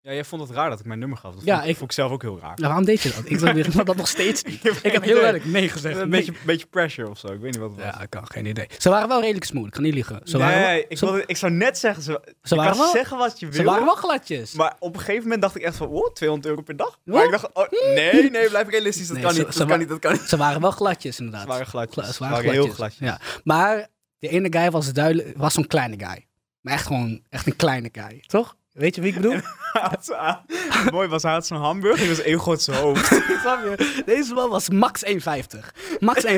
Speaker 1: Ja, jij vond het raar dat ik mijn nummer gaf. Dat
Speaker 2: Ja,
Speaker 1: vond, ik,
Speaker 2: ik-
Speaker 1: vond ik zelf ook heel raar.
Speaker 2: Nou, waarom deed je dat? Ik snap niet- ik snap dat nog steeds niet.
Speaker 1: heb
Speaker 2: Ik
Speaker 1: geen
Speaker 2: heb heel
Speaker 1: idee.
Speaker 2: duidelijk nee gezegd.
Speaker 1: Een
Speaker 2: Nee.
Speaker 1: beetje, beetje pressure of zo. Ik weet niet wat het was.
Speaker 2: Ja, ik kan geen idee. Ze waren wel redelijk smooth, ik kan niet liegen. Ze, waren, wel-
Speaker 1: nee, ik,
Speaker 2: ze-
Speaker 1: wilde- ik zou net zeggen, ze,
Speaker 2: ze,
Speaker 1: je
Speaker 2: waren,
Speaker 1: kan
Speaker 2: wel,
Speaker 1: zeggen wat je
Speaker 2: ze
Speaker 1: wil.
Speaker 2: waren wel gladjes.
Speaker 1: Maar op een gegeven moment dacht ik echt van, wow, 200 euro per dag. Maar
Speaker 2: Wat? Hm?
Speaker 1: ik dacht, oh, nee, nee, blijf realistisch. Dat
Speaker 2: Nee,
Speaker 1: kan
Speaker 2: ze-
Speaker 1: niet, dat
Speaker 2: ze
Speaker 1: kan
Speaker 2: wa-
Speaker 1: niet, dat kan niet.
Speaker 2: Ze waren wel gladjes, inderdaad.
Speaker 1: Ze waren gladjes.
Speaker 2: Gla-
Speaker 1: Ze waren heel gladjes.
Speaker 2: Ja. Maar de ene guy was duidelijk, was zo'n kleine guy. Maar echt gewoon, echt een kleine guy. Toch? Weet je wie ik bedoel?
Speaker 1: Haat ze aan. Mooi was, hij had zo'n hamburger. Die was één god zijn hoofd.
Speaker 2: Snap je? Deze man was max 1,50. Max 1,50.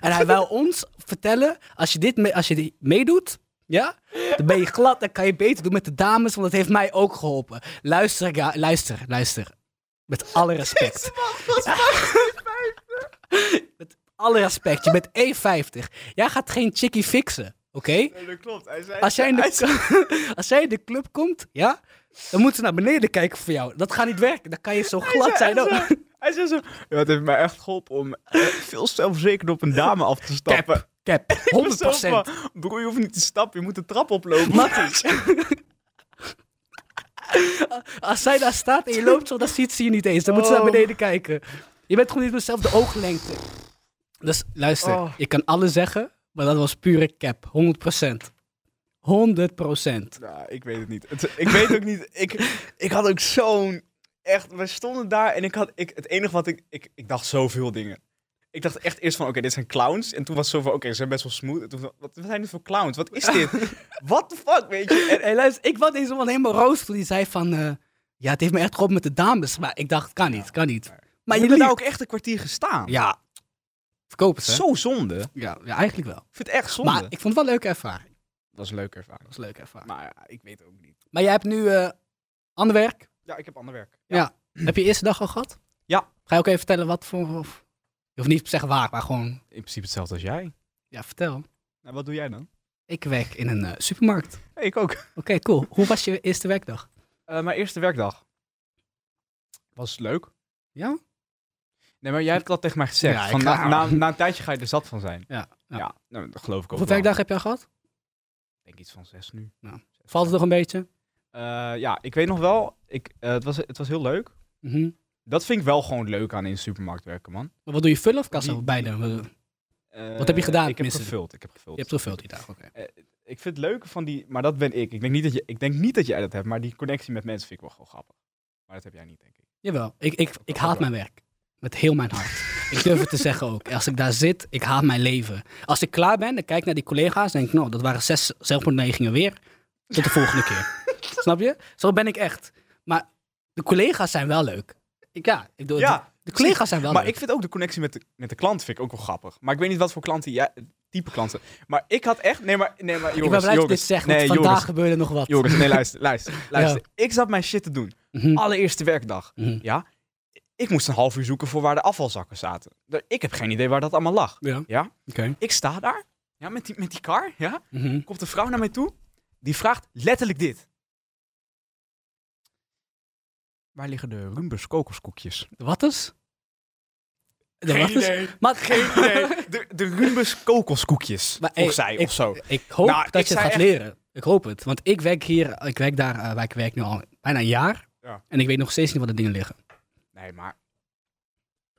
Speaker 2: En hij wou ons vertellen, als je dit me- als je die meedoet, ja, dan ben je glad. Dan kan je beter doen met de dames, want dat heeft mij ook geholpen. Luister, ga- luister, luister. Met alle respect. Met alle respect. Je bent 1,50. Jij gaat geen chickie fixen, oké?
Speaker 1: Nee, dat klopt. Hij zei,
Speaker 2: Als jij, in
Speaker 1: hij
Speaker 2: de,
Speaker 1: zei-
Speaker 2: als jij in de club komt, ja, dan moeten ze naar beneden kijken voor jou. Dat gaat niet werken. Dan kan je zo glad
Speaker 1: zei
Speaker 2: zijn ook.
Speaker 1: echt zo- Hij zei zo, ja, het heeft mij echt geholpen om eh, veel zelfverzekerd op een dame af te stappen.
Speaker 2: Cap, cap, 100%.
Speaker 1: Ik was zo van, Broer, je hoeft niet te stappen, je moet de trap oplopen. Dus-
Speaker 2: Matties. Als zij daar staat en je loopt zo, dan ziet ze je niet eens. Dan moet ze naar
Speaker 1: Oh.
Speaker 2: beneden kijken. Je bent gewoon niet met dezelfde ooglengte. Dus luister,
Speaker 1: Oh.
Speaker 2: je kan alles zeggen, maar dat was pure cap. 100%. 100%.
Speaker 1: Nou, ik weet het niet. Het- ik weet ook niet. Ik, ik had ook zo'n. Echt, we stonden daar en ik had. Ik, het enige wat ik, ik. Ik dacht zoveel dingen. Ik dacht echt eerst van: oké, dit zijn clowns. En toen was het zo van: oké, ze zijn best wel smooth. En toen, van, wat, wat zijn dit voor clowns? Wat is dit? What the fuck, weet je? En,
Speaker 2: Hey, luister, ik was deze man helemaal roos toen hij zei van... eh, ja, het heeft me echt geholpen met de dames. Maar ik dacht, kan niet, kan niet. Maar
Speaker 1: we
Speaker 2: je
Speaker 1: hebben daar
Speaker 2: liegt.
Speaker 1: ook echt een kwartier gestaan.
Speaker 2: Ja. Verkopen ze, hè?
Speaker 1: Zo zonde. Ik
Speaker 2: Ja, ja, eigenlijk wel.
Speaker 1: vind het echt zonde.
Speaker 2: Maar ik vond het wel een leuke ervaring.
Speaker 1: dat was een leuke
Speaker 2: Dat
Speaker 1: ervaring.
Speaker 2: was een leuke ervaring.
Speaker 1: Maar ja, ik weet ook niet.
Speaker 2: Maar jij hebt nu eh, ander werk.
Speaker 1: Ja, ik heb ander werk.
Speaker 2: Ja. Heb je je eerste dag al gehad?
Speaker 1: Ja.
Speaker 2: Ga je ook even vertellen wat voor... Of, je hoeft niet te zeggen waar, maar gewoon...
Speaker 1: In principe hetzelfde als jij.
Speaker 2: Ja, vertel.
Speaker 1: Nou, wat doe jij dan?
Speaker 2: Ik werk in een eh, supermarkt. Oké,
Speaker 1: Hey, ik ook.
Speaker 2: cool. Hoe was je eerste werkdag?
Speaker 1: Eh, mijn eerste werkdag. Was leuk.
Speaker 2: Ja?
Speaker 1: Nee, maar jij hebt dat tegen mij gezegd.
Speaker 2: Ja, ik
Speaker 1: van,
Speaker 2: ga-
Speaker 1: na, na, na een tijdje ga je er zat van zijn.
Speaker 2: Ja.
Speaker 1: Ja, nou, dat geloof ik ook
Speaker 2: Hoeveel
Speaker 1: wel.
Speaker 2: werkdag heb je al gehad?
Speaker 1: Ik denk iets van zes nu.
Speaker 2: Nou, Valt het nog een beetje?
Speaker 1: Eh, ja, ik weet nog wel. Ik, eh, het, was, het was heel leuk.
Speaker 2: Mhm.
Speaker 1: Dat vind ik wel gewoon leuk aan in de supermarkt werken, man.
Speaker 2: Maar Wat doe je, vullen of kassa?
Speaker 1: Die-
Speaker 2: Beide.
Speaker 1: Eh,
Speaker 2: Wat heb je gedaan,
Speaker 1: Ik heb
Speaker 2: tenminste?
Speaker 1: gevuld. Ik heb gevuld.
Speaker 2: Je hebt gevuld die dag, oké.
Speaker 1: Ik vind het leuke van die... Maar dat ben ik. Ik denk, niet dat je, ik denk niet dat jij dat hebt. Maar die connectie met mensen vind ik wel gewoon grappig. Maar dat heb jij niet, denk ik.
Speaker 2: Jawel, ik, ik, ik haat mijn werk. Met heel mijn hart. Ik durf het te zeggen ook. Als ik daar zit, ik haat mijn leven. Als ik klaar ben, dan kijk ik naar die collega's en denk ik, nou, dat waren zes zelfmoordnegingen weer. Tot de volgende keer. Snap je? Zo ben ik echt. Maar de collega's zijn wel leuk. Ik, ja, ik doe,
Speaker 1: Ja,
Speaker 2: de, de collega's zijn wel
Speaker 1: maar
Speaker 2: leuk.
Speaker 1: ik vind ook de connectie met de, met de klant vind ik ook wel grappig. Maar ik weet niet wat voor klanten jij... Type klanten. Maar ik had echt... Nee, maar, nee, maar jongens,
Speaker 2: ik ben blij dat je
Speaker 1: jongens,
Speaker 2: dit zegt, want
Speaker 1: nee,
Speaker 2: vandaag
Speaker 1: jongens,
Speaker 2: gebeurde nog wat.
Speaker 1: Joris, nee, luister, luister, luister. Ik zat mijn shit te doen.
Speaker 2: Mhm.
Speaker 1: Allereerste werkdag.
Speaker 2: Mhm.
Speaker 1: Ja? Ik moest een half uur zoeken voor waar de afvalzakken zaten. Da- Ik heb geen idee waar dat allemaal lag.
Speaker 2: Ja, oké.
Speaker 1: Ja? Ik sta daar, ja, met, die, met die car, ja?
Speaker 2: Mhm.
Speaker 1: Komt een vrouw naar mij toe, die vraagt letterlijk dit. Waar liggen de Rumbers kokoskoekjes?
Speaker 2: De watters? De
Speaker 1: Geen
Speaker 2: watters?
Speaker 1: idee.
Speaker 2: dus- Maar,
Speaker 1: de, de Rumbers kokoskoekjes,
Speaker 2: Maar,
Speaker 1: vroeg
Speaker 2: hey,
Speaker 1: zij
Speaker 2: ik-
Speaker 1: of zo.
Speaker 2: Ik hoop
Speaker 1: Nou,
Speaker 2: dat
Speaker 1: ik
Speaker 2: je
Speaker 1: zei
Speaker 2: het gaat
Speaker 1: echt-
Speaker 2: leren. Ik hoop het. Want ik werk hier, ik werk daar, eh, waar ik werk nu al bijna een jaar.
Speaker 1: Ja.
Speaker 2: En ik weet nog steeds niet waar de dingen liggen.
Speaker 1: Nee, maar...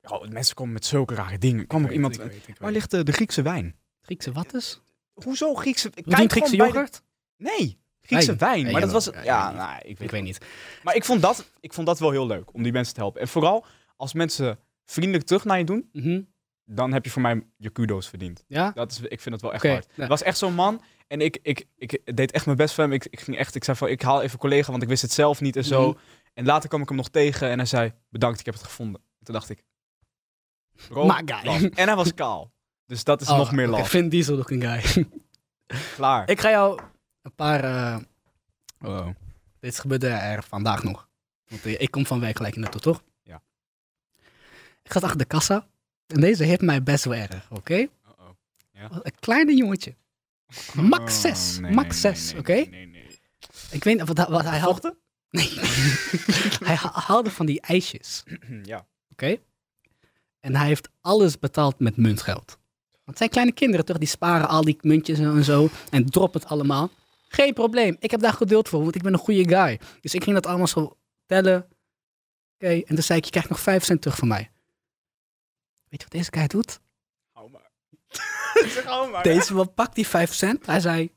Speaker 1: Oh, mensen komen met zulke rare dingen. Kwam er iemand... Waar ligt de, de Griekse wijn?
Speaker 2: Griekse wattes?
Speaker 1: Hoezo Griekse...
Speaker 2: We doen Griekse yoghurt?
Speaker 1: Nee. Griekse
Speaker 2: Wijn.
Speaker 1: wijn.
Speaker 2: Ja,
Speaker 1: Maar dat
Speaker 2: jawel.
Speaker 1: was...
Speaker 2: Ja,
Speaker 1: Ja,
Speaker 2: ja.
Speaker 1: nou, ik weet
Speaker 2: Ik weet niet.
Speaker 1: Maar ik vond, dat, ik vond dat wel heel leuk, om die mensen te helpen. En vooral als mensen vriendelijk terug naar je doen,
Speaker 2: Mhm.
Speaker 1: dan heb je voor mij je kudo's verdiend.
Speaker 2: Ja?
Speaker 1: Dat is, ik vind dat wel echt
Speaker 2: Oké, Nou,
Speaker 1: hard.
Speaker 2: ja.
Speaker 1: Het was echt zo'n man en ik, ik, ik deed echt mijn best voor hem. Ik, ik, ging echt, ik zei van, ik haal even een collega, want ik wist het zelf niet en zo.
Speaker 2: Mhm.
Speaker 1: En later kwam ik hem nog tegen en hij zei, bedankt, ik heb het gevonden. En toen dacht ik, bro,
Speaker 2: My guy.
Speaker 1: love. En hij was kaal. Dus dat is
Speaker 2: Oh,
Speaker 1: nog meer
Speaker 2: oké,
Speaker 1: last.
Speaker 2: Vin Diesel looking guy.
Speaker 1: Klaar.
Speaker 2: ik ga jou een paar... eh,
Speaker 1: Wow.
Speaker 2: Dit gebeurde er vandaag nog. Want eh, ik kom van werk gelijk naartoe, toch?
Speaker 1: Ja.
Speaker 2: Ik zat achter de kassa. En deze heeft mij best wel erg, oké? Oh,
Speaker 1: Uh-oh. Ja.
Speaker 2: Een kleine jongetje. Max zes, max zes, oké?
Speaker 1: Nee, nee, nee.
Speaker 2: Ik weet niet wat, wat hij had. Nee. hij ha- haalde van die ijsjes, oké?
Speaker 1: ja.
Speaker 2: En hij heeft alles betaald met muntgeld. Want het zijn kleine kinderen toch? Die sparen al die muntjes en zo. En droppen het allemaal. Geen probleem. Ik heb daar geduld voor, want ik ben een goede guy. Dus ik ging dat allemaal zo tellen. Oké, en toen zei ik, je krijgt nog 5 cent terug van mij. Weet je wat deze guy doet?
Speaker 1: Hou maar. zeg hou maar.
Speaker 2: Deze man pakt die 5 cent. Hij zei: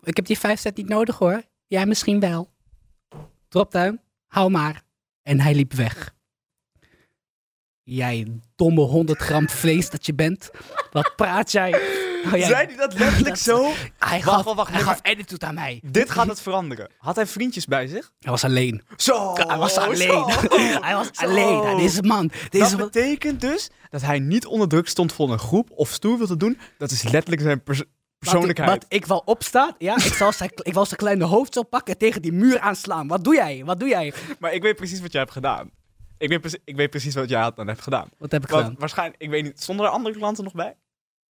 Speaker 2: Ik heb die 5 cent niet nodig hoor. Jij misschien wel. Dropdown, hou maar. En hij liep weg. Jij domme 100 gram vlees dat je bent. Wat praat jij? Oh, jij-
Speaker 1: Zei hij dat letterlijk
Speaker 2: Dat-
Speaker 1: zo?
Speaker 2: hij
Speaker 1: Wacht,
Speaker 2: gaf,
Speaker 1: wacht, wacht,
Speaker 2: hij
Speaker 1: nee,
Speaker 2: gaf attitude aan mij.
Speaker 1: Dit gaat het veranderen. Had hij vriendjes bij zich?
Speaker 2: Hij was alleen.
Speaker 1: Zo!
Speaker 2: hij was alleen.
Speaker 1: zo,
Speaker 2: hij was
Speaker 1: zo.
Speaker 2: alleen. Ja, Deze man. Deze
Speaker 1: Dat
Speaker 2: man.
Speaker 1: betekent dus dat hij niet onder druk stond van een groep of stoer wilde doen. Dat is letterlijk zijn pers- persoonlijkheid.
Speaker 2: Wat ik wel opstaat, ja, ik zal zijn, ik wou zijn kleine hoofd zo pakken en tegen die muur aanslaan. Wat doe jij? Wat doe jij?
Speaker 1: Maar ik weet precies wat jij hebt gedaan. Ik weet, precie- ik weet precies wat jij had dan hebt gedaan.
Speaker 2: Wat heb ik
Speaker 1: Want
Speaker 2: gedaan?
Speaker 1: waarschijnlijk, ik weet niet, stonden er andere klanten nog bij?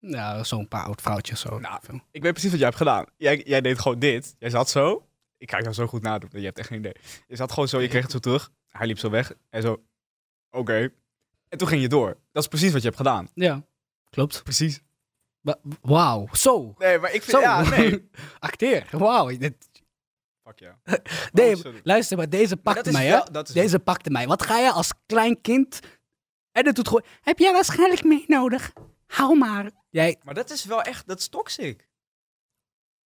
Speaker 2: Nou, zo'n paar oud vrouwtjes zo.
Speaker 1: Nou, ik weet precies wat jij hebt gedaan. Jij, jij deed gewoon dit. Jij zat zo. Ik ga jou zo goed nadoen. Je hebt echt geen idee. Je zat gewoon zo. Je kreeg het zo terug. Hij liep zo weg. En zo. Oké. En toen ging je door. Dat is precies wat je hebt gedaan.
Speaker 2: ja. Klopt.
Speaker 1: Precies.
Speaker 2: Wa- Wauw, zo.
Speaker 1: Nee, maar ik vind...
Speaker 2: Zo.
Speaker 1: Ja, nee.
Speaker 2: Acteer. Wauw. dit-
Speaker 1: Fuck ja. Oh,
Speaker 2: Nee,
Speaker 1: sorry.
Speaker 2: luister, maar deze
Speaker 1: dat
Speaker 2: pakte
Speaker 1: is
Speaker 2: mij,
Speaker 1: wel-
Speaker 2: hè?
Speaker 1: dat is-
Speaker 2: Deze pakte mij. Wat ga je als klein kind... En dat doet gewoon... Heb jij waarschijnlijk mee nodig? Hou maar. Jij...
Speaker 1: Maar dat is wel echt... Dat is toxic.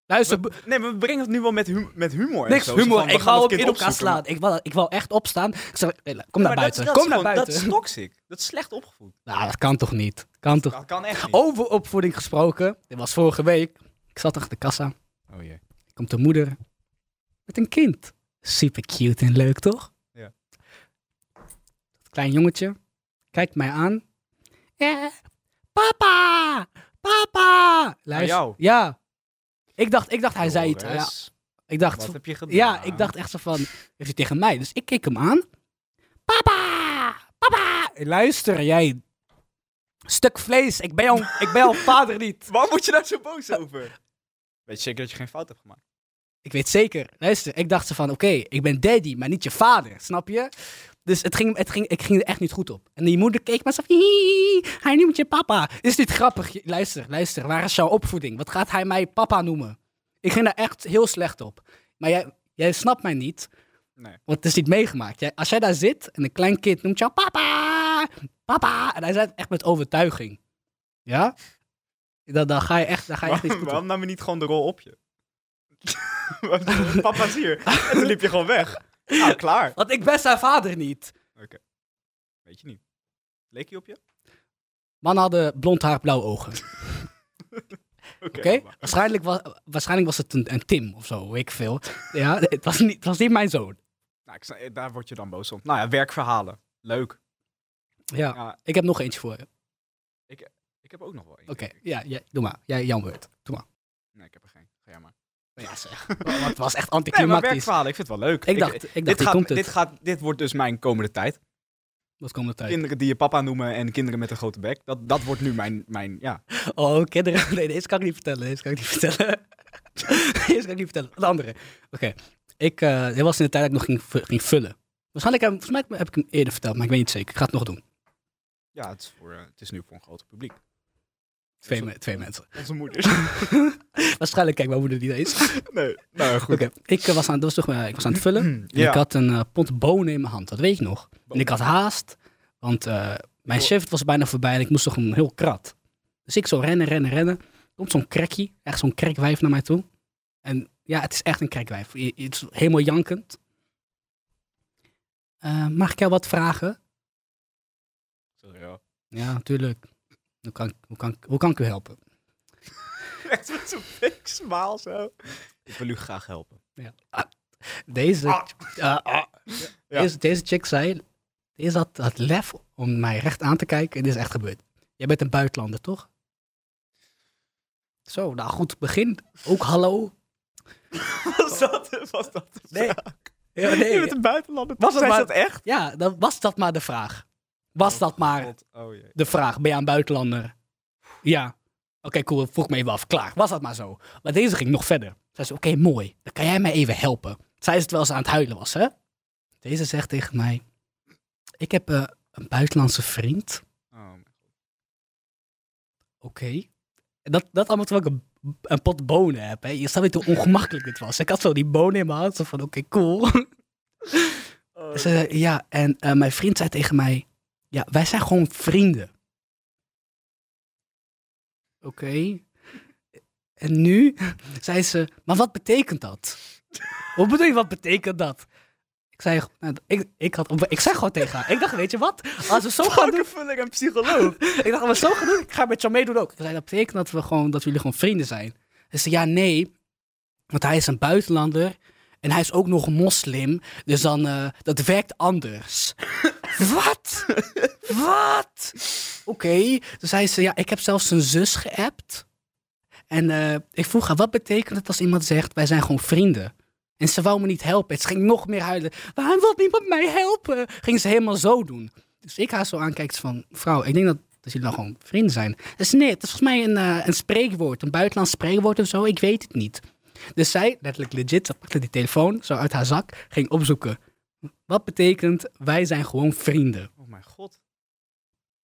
Speaker 2: Luister,
Speaker 1: We- nee, maar we brengen het nu wel met, hum- met humor. en
Speaker 2: niks
Speaker 1: zo. Zo
Speaker 2: humor.
Speaker 1: van, we
Speaker 2: ik
Speaker 1: gaan
Speaker 2: ga
Speaker 1: het
Speaker 2: op
Speaker 1: kind
Speaker 2: in elkaar
Speaker 1: opzoeken.
Speaker 2: slaan. Ik wou, ik wou echt opstaan. Ik zei, eh, kom naar
Speaker 1: Maar dat-
Speaker 2: buiten.
Speaker 1: dat is
Speaker 2: kom naar
Speaker 1: gewoon-
Speaker 2: buiten.
Speaker 1: Dat is toxic. Dat is slecht opgevoed.
Speaker 2: Nou, dat kan toch niet? Kan toch... Oh.
Speaker 1: Dat kan echt niet.
Speaker 2: Over opvoeding gesproken. Dit was vorige week. Ik zat achter de kassa.
Speaker 1: Oh jee.
Speaker 2: komt de moeder met een kind. Super cute en leuk, toch?
Speaker 1: Ja.
Speaker 2: Dat klein jongetje kijkt mij aan. Eh, papa! Papa!
Speaker 1: jou?
Speaker 2: Ja. Ik dacht, ik dacht hij zei het. Ja,
Speaker 1: Joris,
Speaker 2: ik dacht,
Speaker 1: Wat heb je gedaan?
Speaker 2: ja, ik dacht echt zo van, heeft hij tegen mij? Dus ik keek hem aan. Papa! Papa! Luister, jij stuk vlees. Ik ben jouw, ik ben jouw vader niet.
Speaker 1: Waar moet je daar zo boos over? Weet je zeker dat je geen fout hebt gemaakt?
Speaker 2: Ik weet zeker. Luister, ik dacht ze van, oké, ik ben daddy, maar niet je vader, snap je? Dus het ging, het ging, ik ging er echt niet goed op. En die moeder keek me zo van, "Hihi, hij noemt je papa. Is dit grappig? Je- Luister, luister, waar is jouw opvoeding? Wat gaat hij mij papa noemen? Ik ging daar echt heel slecht op. Maar jij, jij snapt mij niet,
Speaker 1: Nee.
Speaker 2: want het is niet meegemaakt. Jij, als jij daar zit en een klein kind noemt jou papa, papa, en hij zei het echt met overtuiging. Ja? Dan, dan ga je echt, dan ga je echt niet
Speaker 1: Waarom,
Speaker 2: goed op.
Speaker 1: waarom nam je niet gewoon de rol op je? Papa is hier. En toen liep je gewoon weg. Nou, klaar.
Speaker 2: Want ik ben zijn vader niet.
Speaker 1: Weet je niet. Leek hij op je?
Speaker 2: Mannen hadden blond haar, blauwe ogen. Oké?
Speaker 1: Oké. maar-
Speaker 2: Waarschijnlijk, was, waarschijnlijk was het een, een Tim of zo, weet ik veel. Ja, het was niet, het was niet mijn zoon.
Speaker 1: Nou, ik snap- daar word je dan boos om. Nou ja, werkverhalen. Leuk.
Speaker 2: Ja.
Speaker 1: Ja,
Speaker 2: Ik heb nog eentje voor je. Oké,
Speaker 1: ik heb ook nog wel één. denk ik.
Speaker 2: ja, ja, doe maar. Jij, jouw beurt. Doe maar.
Speaker 1: Nee, ik heb er geen. Ga jij maar.
Speaker 2: Ja, zeg. Want het was echt
Speaker 1: Nee, maar
Speaker 2: anticlimactisch.
Speaker 1: werkverhalen. Ik vind het wel leuk.
Speaker 2: ik dacht, ik, dacht,
Speaker 1: dit,
Speaker 2: hier
Speaker 1: gaat,
Speaker 2: komt het.
Speaker 1: dit, gaat, dit wordt dus mijn komende tijd.
Speaker 2: Wat komt het uit?
Speaker 1: Kinderen die je papa noemen en kinderen met een grote bek. Dat, dat wordt nu mijn, mijn ja.
Speaker 2: Oh, kinderen. Nee, deze kan ik niet vertellen. Deze kan ik niet vertellen. deze kan ik niet vertellen. De andere. Oké. Ik, eh, dit was in de tijd dat ik nog ging, vu- ging vullen. Waarschijnlijk heb, volgens mij heb ik hem eerder verteld, maar ik weet niet zeker. Ik ga het nog doen.
Speaker 1: Ja, het is, voor, eh, het is nu voor een groot publiek.
Speaker 2: Twee, me- twee mensen.
Speaker 1: Onze moeder.
Speaker 2: Waarschijnlijk kijkt mijn moeder niet eens.
Speaker 1: Nee. Nou, ja, goed.
Speaker 2: Oké, ik, eh, was aan- dat was toch, eh, ik was aan het vullen. En
Speaker 1: Ja.
Speaker 2: Ik had een eh, pond bonen in mijn hand, dat weet ik nog. En ik had haast, want eh, mijn
Speaker 1: Oh.
Speaker 2: shift was bijna voorbij en ik moest toch een heel krat. Dus ik zo rennen, rennen, rennen. Komt zo'n krekkie, echt zo'n krekwijf naar mij toe. En Ja, het is echt een kerkwijf. Je- je- Het is helemaal jankend. Eh, mag ik jou wat vragen?
Speaker 1: Sorry, ja.
Speaker 2: Ja, natuurlijk. Hoe kan, ik- hoe, kan, ik- hoe kan ik u helpen?
Speaker 1: Echt met zo'n fake smaal zo. Ik wil u graag helpen.
Speaker 2: Deze,
Speaker 1: Ah.
Speaker 2: eh, ah.
Speaker 1: Ja.
Speaker 2: deze, deze chick zei, deze had het lef om mij recht aan te kijken en dit is echt gebeurd. Jij bent een buitenlander, toch? Zo, nou goed, begin. Ook hallo.
Speaker 1: Was dat, was dat de
Speaker 2: Nee.
Speaker 1: vraag?
Speaker 2: Ja,
Speaker 1: Je bent een buitenlander.
Speaker 2: Was
Speaker 1: Was
Speaker 2: het
Speaker 1: dat,
Speaker 2: maar-
Speaker 1: dat echt?
Speaker 2: ja, dan was dat maar de vraag. Was dat maar
Speaker 1: God, oh jee.
Speaker 2: de vraag, ben je een buitenlander? Ja. Oké, cool, vroeg me even af. Klaar, was dat maar zo. Maar deze ging nog verder. Zij zei, oké, mooi, dan kan jij mij even helpen. Zij is het wel ze aan het huilen was, hè? Deze zegt tegen mij, ik heb eh, een buitenlandse vriend.
Speaker 1: Oh, man.
Speaker 2: Oké. En Dat, dat allemaal terwijl ik een, een pot bonen heb, hè? Je snapt niet hoe ongemakkelijk dit was. Ik had zo die bonen in mijn hand, zo van, oké, cool. Ze zei, ja, en eh, mijn vriend zei tegen mij, ja, wij zijn gewoon vrienden. Oké. En nu zei ze, maar wat betekent dat? Wat bedoel je, wat betekent dat? Ik zei, nou, ik, ik, had, ik zei gewoon tegen haar, ik dacht, weet je wat? Als we zo gaan doen,
Speaker 1: Vakkenvulling en psycholoog.
Speaker 2: ik dacht, als we zo gaan doen, ik ga met jou meedoen ook. Ik zei, dat betekent dat, we gewoon, dat jullie gewoon vrienden zijn. Ze zei, ja, nee, want hij is een buitenlander en hij is ook nog moslim, dus dan, eh, dat werkt anders. Wat? Wat? Oké, toen zei ze, ja, ik heb zelfs zijn zus geappt. En eh, ik vroeg haar, wat betekent het als iemand zegt, wij zijn gewoon vrienden? En ze wou me niet helpen. Ze ging nog meer huilen. Waarom wil niemand mij helpen? Ging ze helemaal zo doen. Dus ik haar zo aankijkt van, vrouw, ik denk dat, dat jullie nou gewoon vrienden zijn. Dus nee, het is volgens mij een, eh, een spreekwoord, een buitenlands spreekwoord of zo. Ik weet het niet. Dus zij, letterlijk legit, ze pakte die telefoon zo uit haar zak, ging opzoeken. Wat betekent, wij zijn gewoon vrienden?
Speaker 1: Oh mijn god.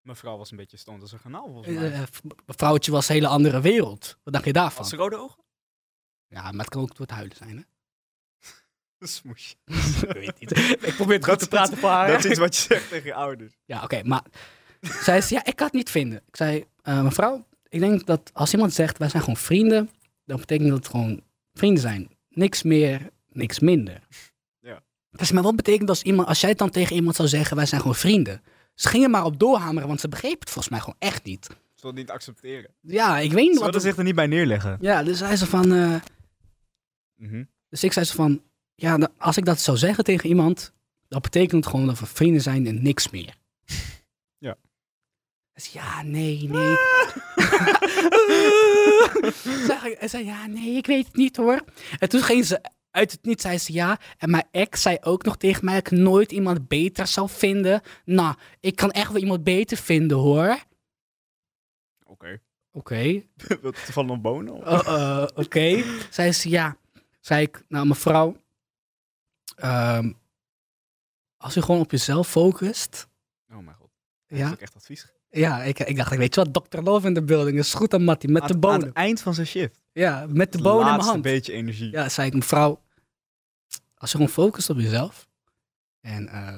Speaker 1: Mevrouw was een beetje stond als een kanaal volgens mij.
Speaker 2: Eh, v- vrouwtje was een hele andere wereld. Wat dacht je daarvan?
Speaker 1: Had ze rode ogen?
Speaker 2: Ja, maar het kan ook door het huilen zijn, hè?
Speaker 1: Smoesje.
Speaker 2: Ik weet niet. Ik probeer het
Speaker 1: Dat
Speaker 2: goed te
Speaker 1: is-
Speaker 2: praten voor haar.
Speaker 1: Dat is iets wat je zegt tegen je ouders.
Speaker 2: Ja, oké, maar... Zij zei, ja, ik kan het niet vinden. Ik zei, eh, mevrouw, ik denk dat als iemand zegt, wij zijn gewoon vrienden, dan betekent dat het gewoon vrienden zijn. Niks meer, niks minder.
Speaker 1: Ja.
Speaker 2: Dus, maar wat betekent als, iemand, als jij het dan tegen iemand zou zeggen, wij zijn gewoon vrienden? Ze gingen maar op doorhameren, want ze begreep het volgens mij gewoon echt niet.
Speaker 1: Ze wil het niet accepteren.
Speaker 2: Ja, ik weet niet
Speaker 1: Ze
Speaker 2: wat...
Speaker 1: wilden zich er niet bij neerleggen.
Speaker 2: Ja, dus zei ze van... eh,
Speaker 1: Mhm.
Speaker 2: Dus ik zei zo van, ja, nou, als ik dat zou zeggen tegen iemand, dan betekent het gewoon dat we vrienden zijn en niks meer.
Speaker 1: Ja. Ah.
Speaker 2: Dus ja, nee, nee. Zeg ik- Hij zei, ja, nee, ik weet het niet hoor. En toen ging ze uit het niet, zei ze ja. En mijn ex zei ook nog tegen mij dat ik nooit iemand beter zou vinden. Nou, ik kan echt wel iemand beter vinden hoor. Oké.
Speaker 1: Oké. Wat Van een bonen? of-
Speaker 2: Eh, eh, Oké. Zei ze ja. Zei ik, nou mevrouw, ehm, als u gewoon op jezelf focust.
Speaker 1: Oh mijn god. Heeft ze
Speaker 2: Ja,
Speaker 1: ook echt advies.
Speaker 2: ja ik, ik dacht, weet je wat, Dr. Love in de building is goed aan Mattie, met
Speaker 1: Aan-
Speaker 2: de
Speaker 1: Aan
Speaker 2: bonen.
Speaker 1: het eind van zijn shift.
Speaker 2: Ja, met de bonen in mijn
Speaker 1: Laatste
Speaker 2: hand.
Speaker 1: beetje energie.
Speaker 2: Ja, zei ik, mevrouw, als je gewoon focust op jezelf en eh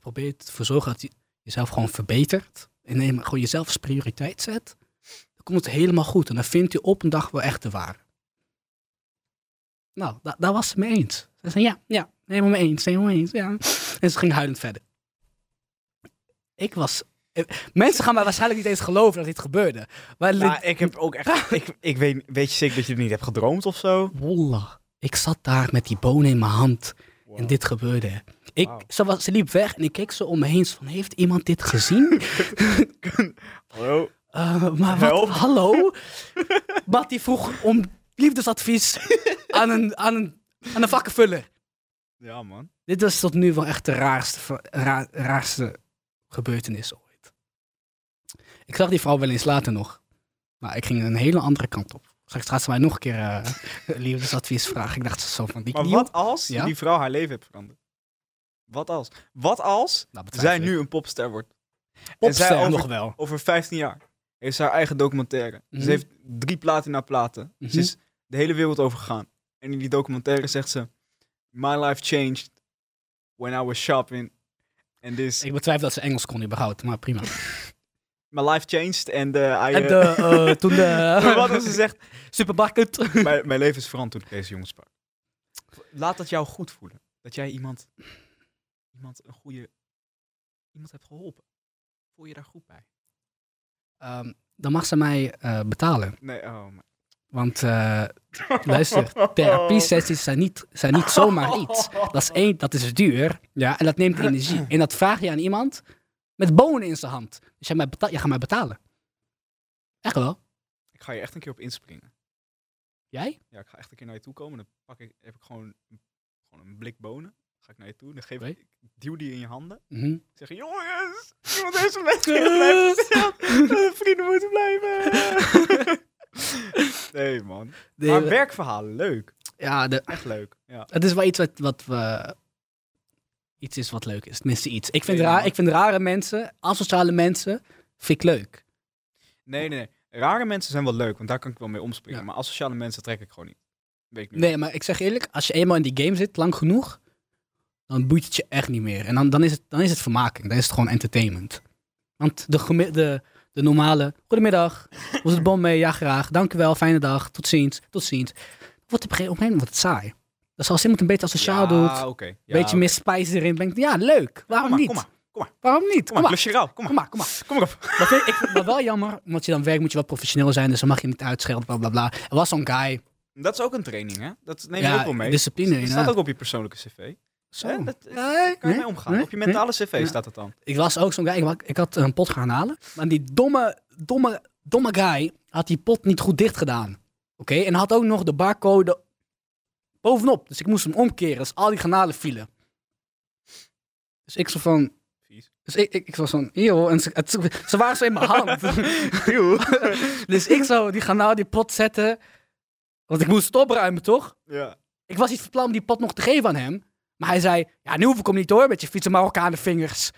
Speaker 2: probeert ervoor te zorgen dat je jezelf gewoon verbetert en neem, gewoon jezelf als prioriteit zet, dan komt het helemaal goed. En dan vindt u op een dag wel echt de ware. Nou, da- daar was ze mee eens. Ze zei, ja, ja, helemaal mee eens, helemaal mee eens, ja. En ze ging huilend verder. Ik was... eh, Mensen gaan mij waarschijnlijk niet eens geloven dat dit gebeurde. Maar le-
Speaker 1: Maar ik heb ook echt... ik, ik weet, weet je zeker dat je er niet hebt gedroomd of zo?
Speaker 2: Wallah, ik zat daar met die bonen in mijn hand. En dit gebeurde. Ik,
Speaker 1: Wauw.
Speaker 2: ze, was, ze liep weg en ik keek zo om me heen. zo Van, heeft iemand dit gezien?
Speaker 1: Hallo?
Speaker 2: Eh, maar wat,
Speaker 1: Help.
Speaker 2: hallo? Batty vroeg om liefdesadvies aan een, aan een, aan een vakkenvuller.
Speaker 1: Ja, man.
Speaker 2: Dit was tot nu wel echt de raarste, ver- ra- raarste gebeurtenis ooit. Ik zag die vrouw wel eens later nog. Maar ik ging een hele andere kant op. Straks gaat ze mij nog een keer eh, liefdesadvies vragen. Ik dacht zo van, die
Speaker 1: Maar
Speaker 2: knieën-
Speaker 1: wat als
Speaker 2: Ja?
Speaker 1: die vrouw haar leven heeft veranderd? Wat als? Wat als
Speaker 2: Nou, betwijfel
Speaker 1: zij
Speaker 2: ik.
Speaker 1: nu een popster wordt?
Speaker 2: Popster
Speaker 1: zij over-
Speaker 2: nog wel.
Speaker 1: Over 15 jaar heeft ze haar eigen documentaire.
Speaker 2: Mhm.
Speaker 1: Ze heeft drie platina platen.
Speaker 2: Mhm.
Speaker 1: Ze is de hele wereld over gegaan. En in die documentaire zegt ze... My life changed when I was shopping. And this...
Speaker 2: Ik betwijfel dat ze Engels kon überhaupt, maar prima.
Speaker 1: My life changed and eh, I...
Speaker 2: En
Speaker 1: eh,
Speaker 2: de, eh, toen de
Speaker 1: maar wat als ze zegt...
Speaker 2: supermarket.
Speaker 1: mijn, mijn leven is veranderd toen ik deze jongen sprak. laat dat jou goed voelen. Dat jij iemand, iemand een goede, iemand hebt geholpen. Voel je daar goed bij?
Speaker 2: Ehm, dan mag ze mij eh, betalen.
Speaker 1: Nee, oh my-
Speaker 2: Want eh, luister,
Speaker 1: Oh.
Speaker 2: therapie-sessies zijn niet, zijn niet zomaar iets. Dat is één, dat is duur. Ja, en dat neemt energie. En dat vraag je aan iemand met bonen in zijn hand. Dus jij, mij beta- jij gaat mij betalen. Echt wel?
Speaker 1: Ik ga je echt een keer op inspringen.
Speaker 2: Jij?
Speaker 1: Ja, ik ga echt een keer naar je toe komen. Dan pak ik, heb ik gewoon, gewoon een blik bonen. Ga ik naar je toe. Dan geef
Speaker 2: Oké.
Speaker 1: ik, ik duw die in je handen.
Speaker 2: Mhm.
Speaker 1: Ik zeg, jongens, iemand heeft zijn les niet blijven verteld. Eh, Vrienden moeten blijven. nee, man.
Speaker 2: De-
Speaker 1: maar werkverhalen, leuk.
Speaker 2: ja, de,
Speaker 1: Echt leuk. Ja.
Speaker 2: het is wel iets wat, wat we... Iets is wat leuk is. Tenminste iets. Ik vind,
Speaker 1: Nee,
Speaker 2: raar,
Speaker 1: maar-
Speaker 2: ik vind rare mensen, asociale mensen, vind ik leuk.
Speaker 1: Nee, nee, nee. Rare mensen zijn wel leuk, want daar kan ik wel mee omspringen.
Speaker 2: Ja.
Speaker 1: Maar asociale mensen trek ik gewoon niet. Weet ik niet.
Speaker 2: Nee, maar ik zeg eerlijk, als je eenmaal in die game zit, lang genoeg, dan boeit het je echt niet meer. En dan, dan, is, het, dan is het vermaking, dan is het gewoon entertainment. Want de, geme- de, de normale, goedemiddag, hoe is het bom mee? Ja, graag. Dank u wel, fijne dag, tot ziens, tot ziens. Wordt op een gegeven moment wordt het saai. Dus als iemand een beetje asociaal
Speaker 1: Ja,
Speaker 2: doet, een
Speaker 1: oké. Ja,
Speaker 2: beetje
Speaker 1: oké.
Speaker 2: meer spice erin brengt, ja, leuk. Waarom
Speaker 1: Kom maar,
Speaker 2: niet?
Speaker 1: kom maar. Kom maar,
Speaker 2: Waarom niet?
Speaker 1: kom maar. Lus je rauw. Kom
Speaker 2: kom
Speaker 1: maar,
Speaker 2: maar, kom maar.
Speaker 1: kom maar op.
Speaker 2: Dat vind ik, ik vind het wel jammer, want je dan werkt moet je wel professioneel zijn, dus dan mag je niet uitschelden, bla bla bla. Er was zo'n guy,
Speaker 1: Dat is ook een training, hè? Dat neem je
Speaker 2: ja,
Speaker 1: ook wel mee.
Speaker 2: discipline
Speaker 1: dat staat
Speaker 2: inderdaad.
Speaker 1: ook op je persoonlijke cv.
Speaker 2: Zo.
Speaker 1: Hè, dat is-
Speaker 2: Ja,
Speaker 1: Dus Kan je
Speaker 2: nee,
Speaker 1: mee omgaan?
Speaker 2: nee,
Speaker 1: op je mentale cv
Speaker 2: nee.
Speaker 1: staat dat dan.
Speaker 2: Ik was ook zo'n guy, ik, wa- ik had een pot gaan halen. Maar die domme, domme, domme guy had die pot niet goed dicht gedaan. Oké, en had ook nog de barcode bovenop. Dus ik moest hem omkeren, dus al die granalen vielen. Dus ik zo van...
Speaker 1: Vies.
Speaker 2: Dus ik, ik, ik was van, joh, en ze, het- ze- ze waren zo in mijn hand. dus ik zou die granaal die pot zetten. Want ik moest het opruimen, toch?
Speaker 1: ja.
Speaker 2: Ik was niet van plan om die pot nog te geven aan hem. Maar hij zei, ja, nu hoef ik hem niet hoor, met je fietsen Marokkaanse vingers.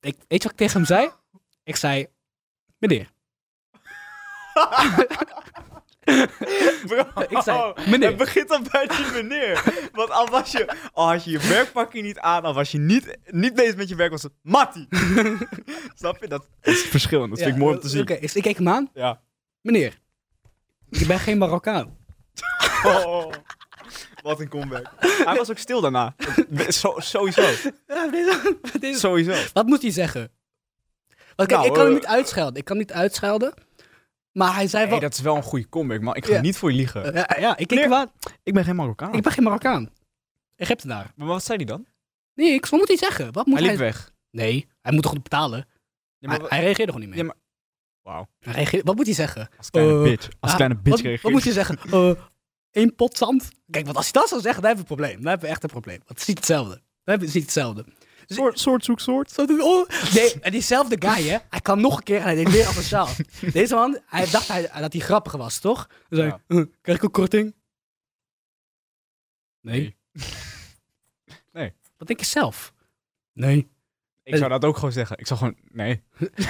Speaker 2: Ik, weet je wat ik tegen hem zei? Ik zei, meneer.
Speaker 1: Bro, Oh,
Speaker 2: Ik zei, meneer.
Speaker 1: Het begint al bij die meneer. Want al was je, al had je je werkpakje niet aan, al was je niet, niet bezig met je werk, was het Mattie. Snap je? Dat is het verschil en dat
Speaker 2: Ja,
Speaker 1: vind ik mooi om te
Speaker 2: eh,
Speaker 1: zien.
Speaker 2: Oké, dus ik keek hem aan.
Speaker 1: Ja.
Speaker 2: Meneer, je bent geen Marokkaan.
Speaker 1: Oh, wat een comeback. Hij was ook stil daarna. Zo, sowieso. Sowieso.
Speaker 2: Wat moet hij zeggen? Want kijk,
Speaker 1: Nou,
Speaker 2: ik kan hem
Speaker 1: eh,
Speaker 2: niet uitschelden. Ik kan hem niet uitschelden. Maar hij zei wel...
Speaker 1: dat is wel een goede comeback, maar ik ga
Speaker 2: Ja.
Speaker 1: niet voor je liegen.
Speaker 2: Ja, ja, ik keek
Speaker 1: Meneer.
Speaker 2: hem aan.
Speaker 1: ik ben geen Marokkaan.
Speaker 2: Ik ben geen Marokkaan. Egyptenaar.
Speaker 1: Maar wat zei hij dan?
Speaker 2: Niks, wat moet hij zeggen? Wat moet
Speaker 1: hij
Speaker 2: hij...
Speaker 1: liep weg.
Speaker 2: Nee, hij moet toch betalen?
Speaker 1: Ja, maar
Speaker 2: hij,
Speaker 1: wa-
Speaker 2: hij reageerde gewoon niet
Speaker 1: Ja,
Speaker 2: meer.
Speaker 1: maar- Wauw.
Speaker 2: Hij reageerde- wat moet hij zeggen?
Speaker 1: Als kleine
Speaker 2: Eh,
Speaker 1: bitch. Als
Speaker 2: ah,
Speaker 1: kleine bitch
Speaker 2: wat,
Speaker 1: reageert
Speaker 2: wat moet je zeggen? Eh één pot zand? Kijk, want als hij dat zou zeggen, dan hebben we een probleem. Dan hebben we echt een probleem. Want het is niet hetzelfde. Dan hebben we het is niet hetzelfde.
Speaker 1: Soort, soort zoek soort.
Speaker 2: Zo doet- oh. Nee, en diezelfde guy, hè? Hij kwam nog een keer en hij deed weer asociaal. Deze man, hij dacht hij, dat hij grappig was, toch? Dan zei
Speaker 1: Ja.
Speaker 2: hij, "Eh, krijg ik ook korting? Nee.
Speaker 1: Nee.
Speaker 2: Wat denk je zelf? Nee.
Speaker 1: Ik zou dat ook gewoon zeggen. Ik zou gewoon, nee.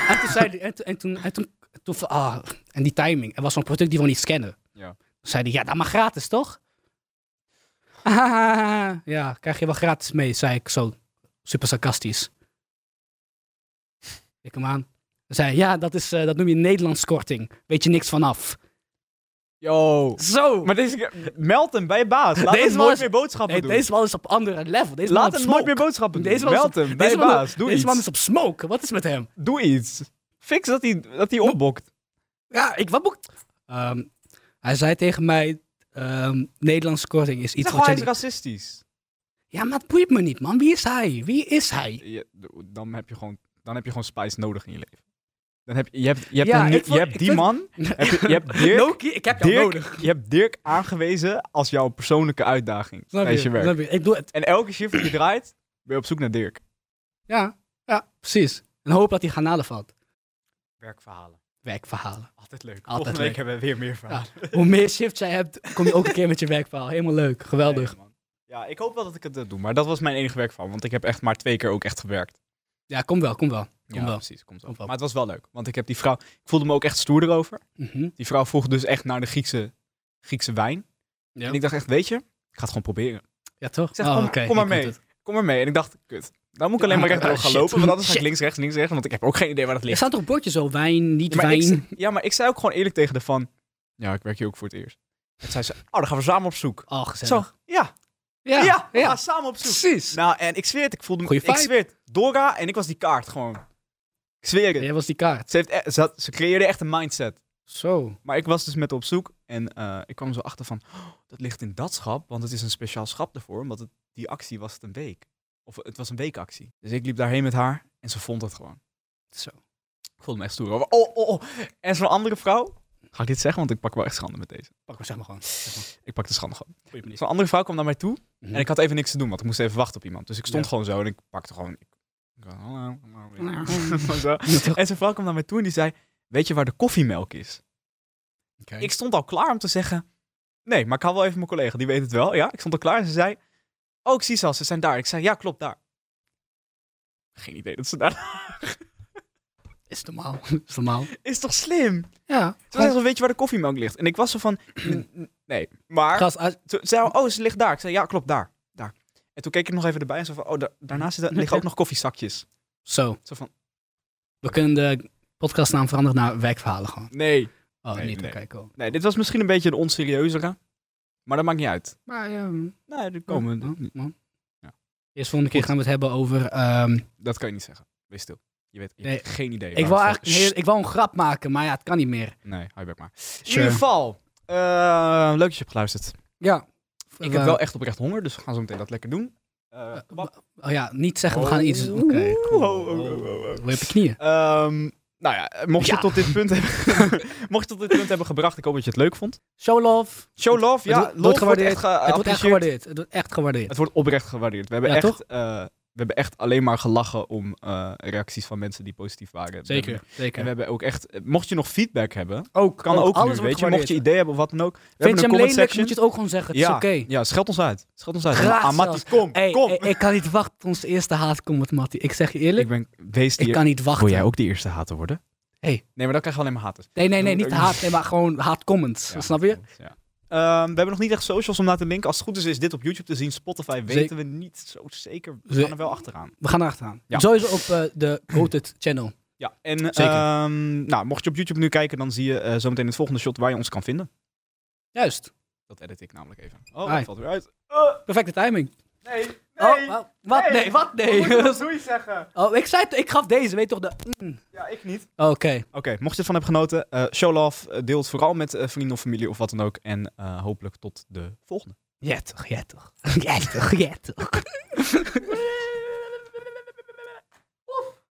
Speaker 2: En toen zei hij, en toen, en toen, en toen, toen van, ah, en die timing. Er was zo'n product die we niet scannen.
Speaker 1: Ja.
Speaker 2: Toen zei hij, ja, dat mag gratis, toch? Ah, ja, krijg je wel gratis mee, zei ik zo super sarcastisch. Ik hem aan. Hij zei, ja, dat, is, eh, dat noem je Nederlands korting. Weet je niks vanaf.
Speaker 1: Yo.
Speaker 2: Zo!
Speaker 1: Maar deze keer, meld hem bij je baas. Laat
Speaker 2: Deze
Speaker 1: hem
Speaker 2: man
Speaker 1: nooit
Speaker 2: is-
Speaker 1: meer boodschappen
Speaker 2: Nee,
Speaker 1: doen.
Speaker 2: deze man is op andere level. Deze man
Speaker 1: Laat
Speaker 2: op
Speaker 1: hem nooit
Speaker 2: smoke.
Speaker 1: meer boodschappen doen.
Speaker 2: Deze man is
Speaker 1: meld
Speaker 2: op-
Speaker 1: hem bij je
Speaker 2: man-
Speaker 1: baas. Doe
Speaker 2: deze
Speaker 1: iets.
Speaker 2: man is op smoke. Wat is met hem?
Speaker 1: Doe iets. Fix dat hij, dat hij opbokt.
Speaker 2: Ja, ik wat moet. Ehm, hij zei tegen mij: ehm Nederlandse korting is iets
Speaker 1: Zeg
Speaker 2: wat
Speaker 1: gewoon, hij
Speaker 2: jij
Speaker 1: is
Speaker 2: niet-
Speaker 1: racistisch.
Speaker 2: Ja, maar het boeit me niet, man. Wie is hij? Wie is hij?
Speaker 1: Je- dan, heb je gewoon, dan heb je gewoon spice nodig in je leven. Dan heb je, je, hebt, je, hebt,
Speaker 2: Ja,
Speaker 1: een-
Speaker 2: ik
Speaker 1: je
Speaker 2: vond-
Speaker 1: hebt
Speaker 2: ik
Speaker 1: die
Speaker 2: vind-
Speaker 1: man, heb je, je hebt Dirk,
Speaker 2: Loki, Nou, ik heb jou nodig.
Speaker 1: Dirk, je hebt Dirk aangewezen als jouw persoonlijke uitdaging
Speaker 2: Snap je?
Speaker 1: tijdens je werk.
Speaker 2: Snap je? Ik doe het.
Speaker 1: En elke shift die je draait, ben je op zoek naar Dirk.
Speaker 2: Ja, ja, precies. En hoop dat hij garnalen valt.
Speaker 1: Werkverhalen.
Speaker 2: Werkverhalen.
Speaker 1: Altijd leuk.
Speaker 2: Altijd
Speaker 1: Volgende
Speaker 2: leuk.
Speaker 1: week hebben we weer meer verhalen.
Speaker 2: Hoe meer shifts jij hebt, kom je ook een keer met je werkverhaal. Helemaal leuk. Geweldig.
Speaker 1: Nee, man. Ja, ik hoop wel dat ik het eh, doe. Maar dat was mijn enige werkverhaal. Want ik heb echt maar twee keer ook echt gewerkt.
Speaker 2: Ja, kom wel, kom wel. Kom
Speaker 1: ja,
Speaker 2: wel.
Speaker 1: precies. Komt wel.
Speaker 2: Komt wel.
Speaker 1: Maar het was wel leuk. Want ik heb die vrouw... Ik voelde me ook echt stoer erover.
Speaker 2: Mhm.
Speaker 1: Die vrouw vroeg dus echt naar de Griekse, Griekse wijn.
Speaker 2: Ja.
Speaker 1: En ik dacht echt, weet je, ik ga het gewoon proberen.
Speaker 2: Ja, toch?
Speaker 1: zeg,
Speaker 2: Oh,
Speaker 1: kom-
Speaker 2: oké,
Speaker 1: kom maar
Speaker 2: ik had
Speaker 1: mee.
Speaker 2: het.
Speaker 1: Kom maar mee. En ik dacht, kut. Dan moet ik alleen maar
Speaker 2: Ah,
Speaker 1: rechtdoor gaan
Speaker 2: shit.
Speaker 1: lopen. Want anders ga ik
Speaker 2: Shit.
Speaker 1: links, rechts, links, rechts. Want ik heb ook geen idee waar dat
Speaker 2: Er
Speaker 1: ligt.
Speaker 2: staan toch bordjes zo, wijn, niet
Speaker 1: Ja, maar,
Speaker 2: wijn.
Speaker 1: ik, ja, maar ik zei ook gewoon eerlijk tegen de van... Ja, ik werk hier ook voor het eerst. Toen zei ze, oh, dan gaan we samen op zoek.
Speaker 2: Oh, gezellig.
Speaker 1: Zo, ja,
Speaker 2: Ja,
Speaker 1: ja,
Speaker 2: ja,
Speaker 1: we gaan samen op zoek.
Speaker 2: precies.
Speaker 1: Nou, en ik zweer het, ik voelde me...
Speaker 2: Goeie
Speaker 1: ik
Speaker 2: vibe.
Speaker 1: zweer het, Dora en ik was die kaart gewoon. Ik zweer het.
Speaker 2: Jij was die kaart.
Speaker 1: Ze, heeft, e- ze, had- ze creëerde echt een mindset.
Speaker 2: Zo.
Speaker 1: Maar ik was dus met haar op zoek en eh, ik kwam zo achter van, "Oh, dat ligt in dat schap, want het is een speciaal schap daarvoor, omdat het, die actie was het een week. Of het was een weekactie. Dus ik liep daarheen met haar en ze vond het gewoon.
Speaker 2: Zo.
Speaker 1: Ik voelde me echt stoer. hoor. Oh, oh, oh. En zo'n andere vrouw, ga ik dit zeggen, want ik pak wel echt schande met deze.
Speaker 2: Pak maar, zeg maar gewoon. Zeg maar.
Speaker 1: Ik pak de schande gewoon.
Speaker 2: Goeie manier.
Speaker 1: Zo'n andere vrouw kwam naar mij toe
Speaker 2: Mhm.
Speaker 1: en ik had even niks te doen, want ik moest even wachten op iemand. Dus ik stond
Speaker 2: Ja.
Speaker 1: gewoon zo en ik pakte gewoon... Ik, ik- hallo, hallo. Zo.
Speaker 2: Oké.
Speaker 1: En zo'n vrouw kwam naar mij toe en die zei, weet je waar de koffiemelk is? Ik stond al klaar om te zeggen. Nee, maar ik haal wel even mijn collega, die weet het wel. Ja, ik stond al klaar en ze zei. Oh, ik zie ze al, ze zijn daar. Ik zei, ja, klopt, daar. Geen idee dat ze daar...
Speaker 2: Is normaal. Is normaal.
Speaker 1: Is toch slim?
Speaker 2: Ja.
Speaker 1: Ze zei, zo, weet je waar de koffiemelk ligt? En ik was zo van, "N- n- nee. Maar
Speaker 2: Gast, als-
Speaker 1: ze zei, oh, ze ligt daar. Ik zei, ja, klopt, daar. daar. En toen keek ik nog even erbij en zo van, oh, da- daarnaast zitten- liggen ook nog koffiezakjes.
Speaker 2: Zo.
Speaker 1: Zo van,
Speaker 2: We kunnen de podcastnaam veranderen naar wijkverhalen gewoon.
Speaker 1: nee.
Speaker 2: Oh,
Speaker 1: Nee,
Speaker 2: niet
Speaker 1: nee.
Speaker 2: nee. kijken. hoor.
Speaker 1: Nee, dit was misschien een beetje een onserieuzere. Maar dat maakt niet uit.
Speaker 2: Maar ja,
Speaker 1: Nee, dat,
Speaker 2: komen
Speaker 1: komen,
Speaker 2: we. man.
Speaker 1: Ja.
Speaker 2: Oh, Eerst volgende keer gaan we het hebben over... ehm,
Speaker 1: dat kan je niet zeggen. Wees stil. Je weet je
Speaker 2: Nee.
Speaker 1: hebt geen idee.
Speaker 2: ik,
Speaker 1: waar
Speaker 2: wil
Speaker 1: het
Speaker 2: eigenlijk,
Speaker 1: voor-
Speaker 2: een hele- ik wil een grap maken, maar ja, het kan niet meer.
Speaker 1: Nee, hou je bek maar. In
Speaker 2: Sure.
Speaker 1: ieder geval, eh, leuk dat je hebt geluisterd.
Speaker 2: Ja.
Speaker 1: Ik
Speaker 2: Eh,
Speaker 1: heb wel echt oprecht honger, dus we gaan zo meteen dat lekker doen. Eh, wat-
Speaker 2: Oh ja, niet zeggen we gaan iets... Oké.
Speaker 1: Oeh, oh, oh, oh, oh, oh.
Speaker 2: Wil je op je knieën?
Speaker 1: Ehm, nou ja, eh, mocht je,
Speaker 2: Ja.
Speaker 1: tot dit punt hebben, mocht je tot dit punt hebben gebracht, ik hoop dat je het leuk vond.
Speaker 2: Show love.
Speaker 1: Show love, ja,
Speaker 2: wordt-
Speaker 1: love
Speaker 2: wordt gewaardeerd.
Speaker 1: echt ge-
Speaker 2: het wordt echt
Speaker 1: geapprecieerd.
Speaker 2: gewaardeerd. Het wordt echt gewaardeerd.
Speaker 1: Het wordt oprecht gewaardeerd. We hebben,
Speaker 2: Ja, toch?
Speaker 1: echt, eh, we hebben echt alleen maar gelachen om eh, reacties van mensen die positief waren. We
Speaker 2: Zeker,
Speaker 1: hebben-
Speaker 2: zeker.
Speaker 1: En we hebben ook echt, eh, mocht je nog feedback hebben,
Speaker 2: ook,
Speaker 1: Oh, kan ook,
Speaker 2: Oh, alles
Speaker 1: nu,
Speaker 2: wordt
Speaker 1: weet je, mocht je
Speaker 2: gewaardeerd.
Speaker 1: ideeën hebben of wat dan ook. We
Speaker 2: Vind je
Speaker 1: hebben
Speaker 2: hem
Speaker 1: een comment
Speaker 2: lelijk,
Speaker 1: section.
Speaker 2: moet je het ook gewoon zeggen. Het
Speaker 1: ja,
Speaker 2: is oké.
Speaker 1: ja, scheld ons uit. Scheld ons uit.
Speaker 2: Graag
Speaker 1: Ah, Mattie, kom,
Speaker 2: Hey,
Speaker 1: kom.
Speaker 2: hey, ik kan niet wachten tot onze eerste haat komt met Matty. Ik zeg je eerlijk,
Speaker 1: Ik ben, wees
Speaker 2: ik,
Speaker 1: die.
Speaker 2: kan niet wachten.
Speaker 1: Wil jij ook de eerste hater worden?
Speaker 2: Hey.
Speaker 1: Nee, maar dan krijg je alleen maar haters.
Speaker 2: Nee, nee, nee,
Speaker 1: Doe-
Speaker 2: niet haat, nee, maar gewoon haat comments.
Speaker 1: Ja,
Speaker 2: snap je?
Speaker 1: Ja. Ehm, we hebben nog niet echt socials om naar te linken. Als het goed is, is dit op YouTube te zien. Spotify weten we niet zo zeker. We
Speaker 2: Ze-
Speaker 1: gaan er wel achteraan.
Speaker 2: We gaan erachteraan.
Speaker 1: Ja.
Speaker 2: Sowieso op eh, de Goated channel.
Speaker 1: Ja, en
Speaker 2: Zeker.
Speaker 1: ehm, nou, mocht je op YouTube nu kijken, dan zie je eh, zometeen het volgende shot waar je ons kan vinden.
Speaker 2: Juist.
Speaker 1: Dat edit ik namelijk even. Oh,
Speaker 2: Hi.
Speaker 1: dat valt weer uit. Eh,
Speaker 2: Perfecte timing.
Speaker 1: nee,
Speaker 2: Oh, wa- wat? Nee, wat? Nee.
Speaker 1: doei zeggen?
Speaker 2: Oh, ik zei het, ik gaf deze, weet toch de... Mm.
Speaker 1: Ja, ik niet.
Speaker 2: Oké.
Speaker 1: Oké, mocht je ervan hebben genoten, eh, show love. eh, deel het vooral met eh, vrienden of familie of wat dan ook. En eh, hopelijk tot de volgende.
Speaker 2: Jettig, jettig. Jettig, jettig.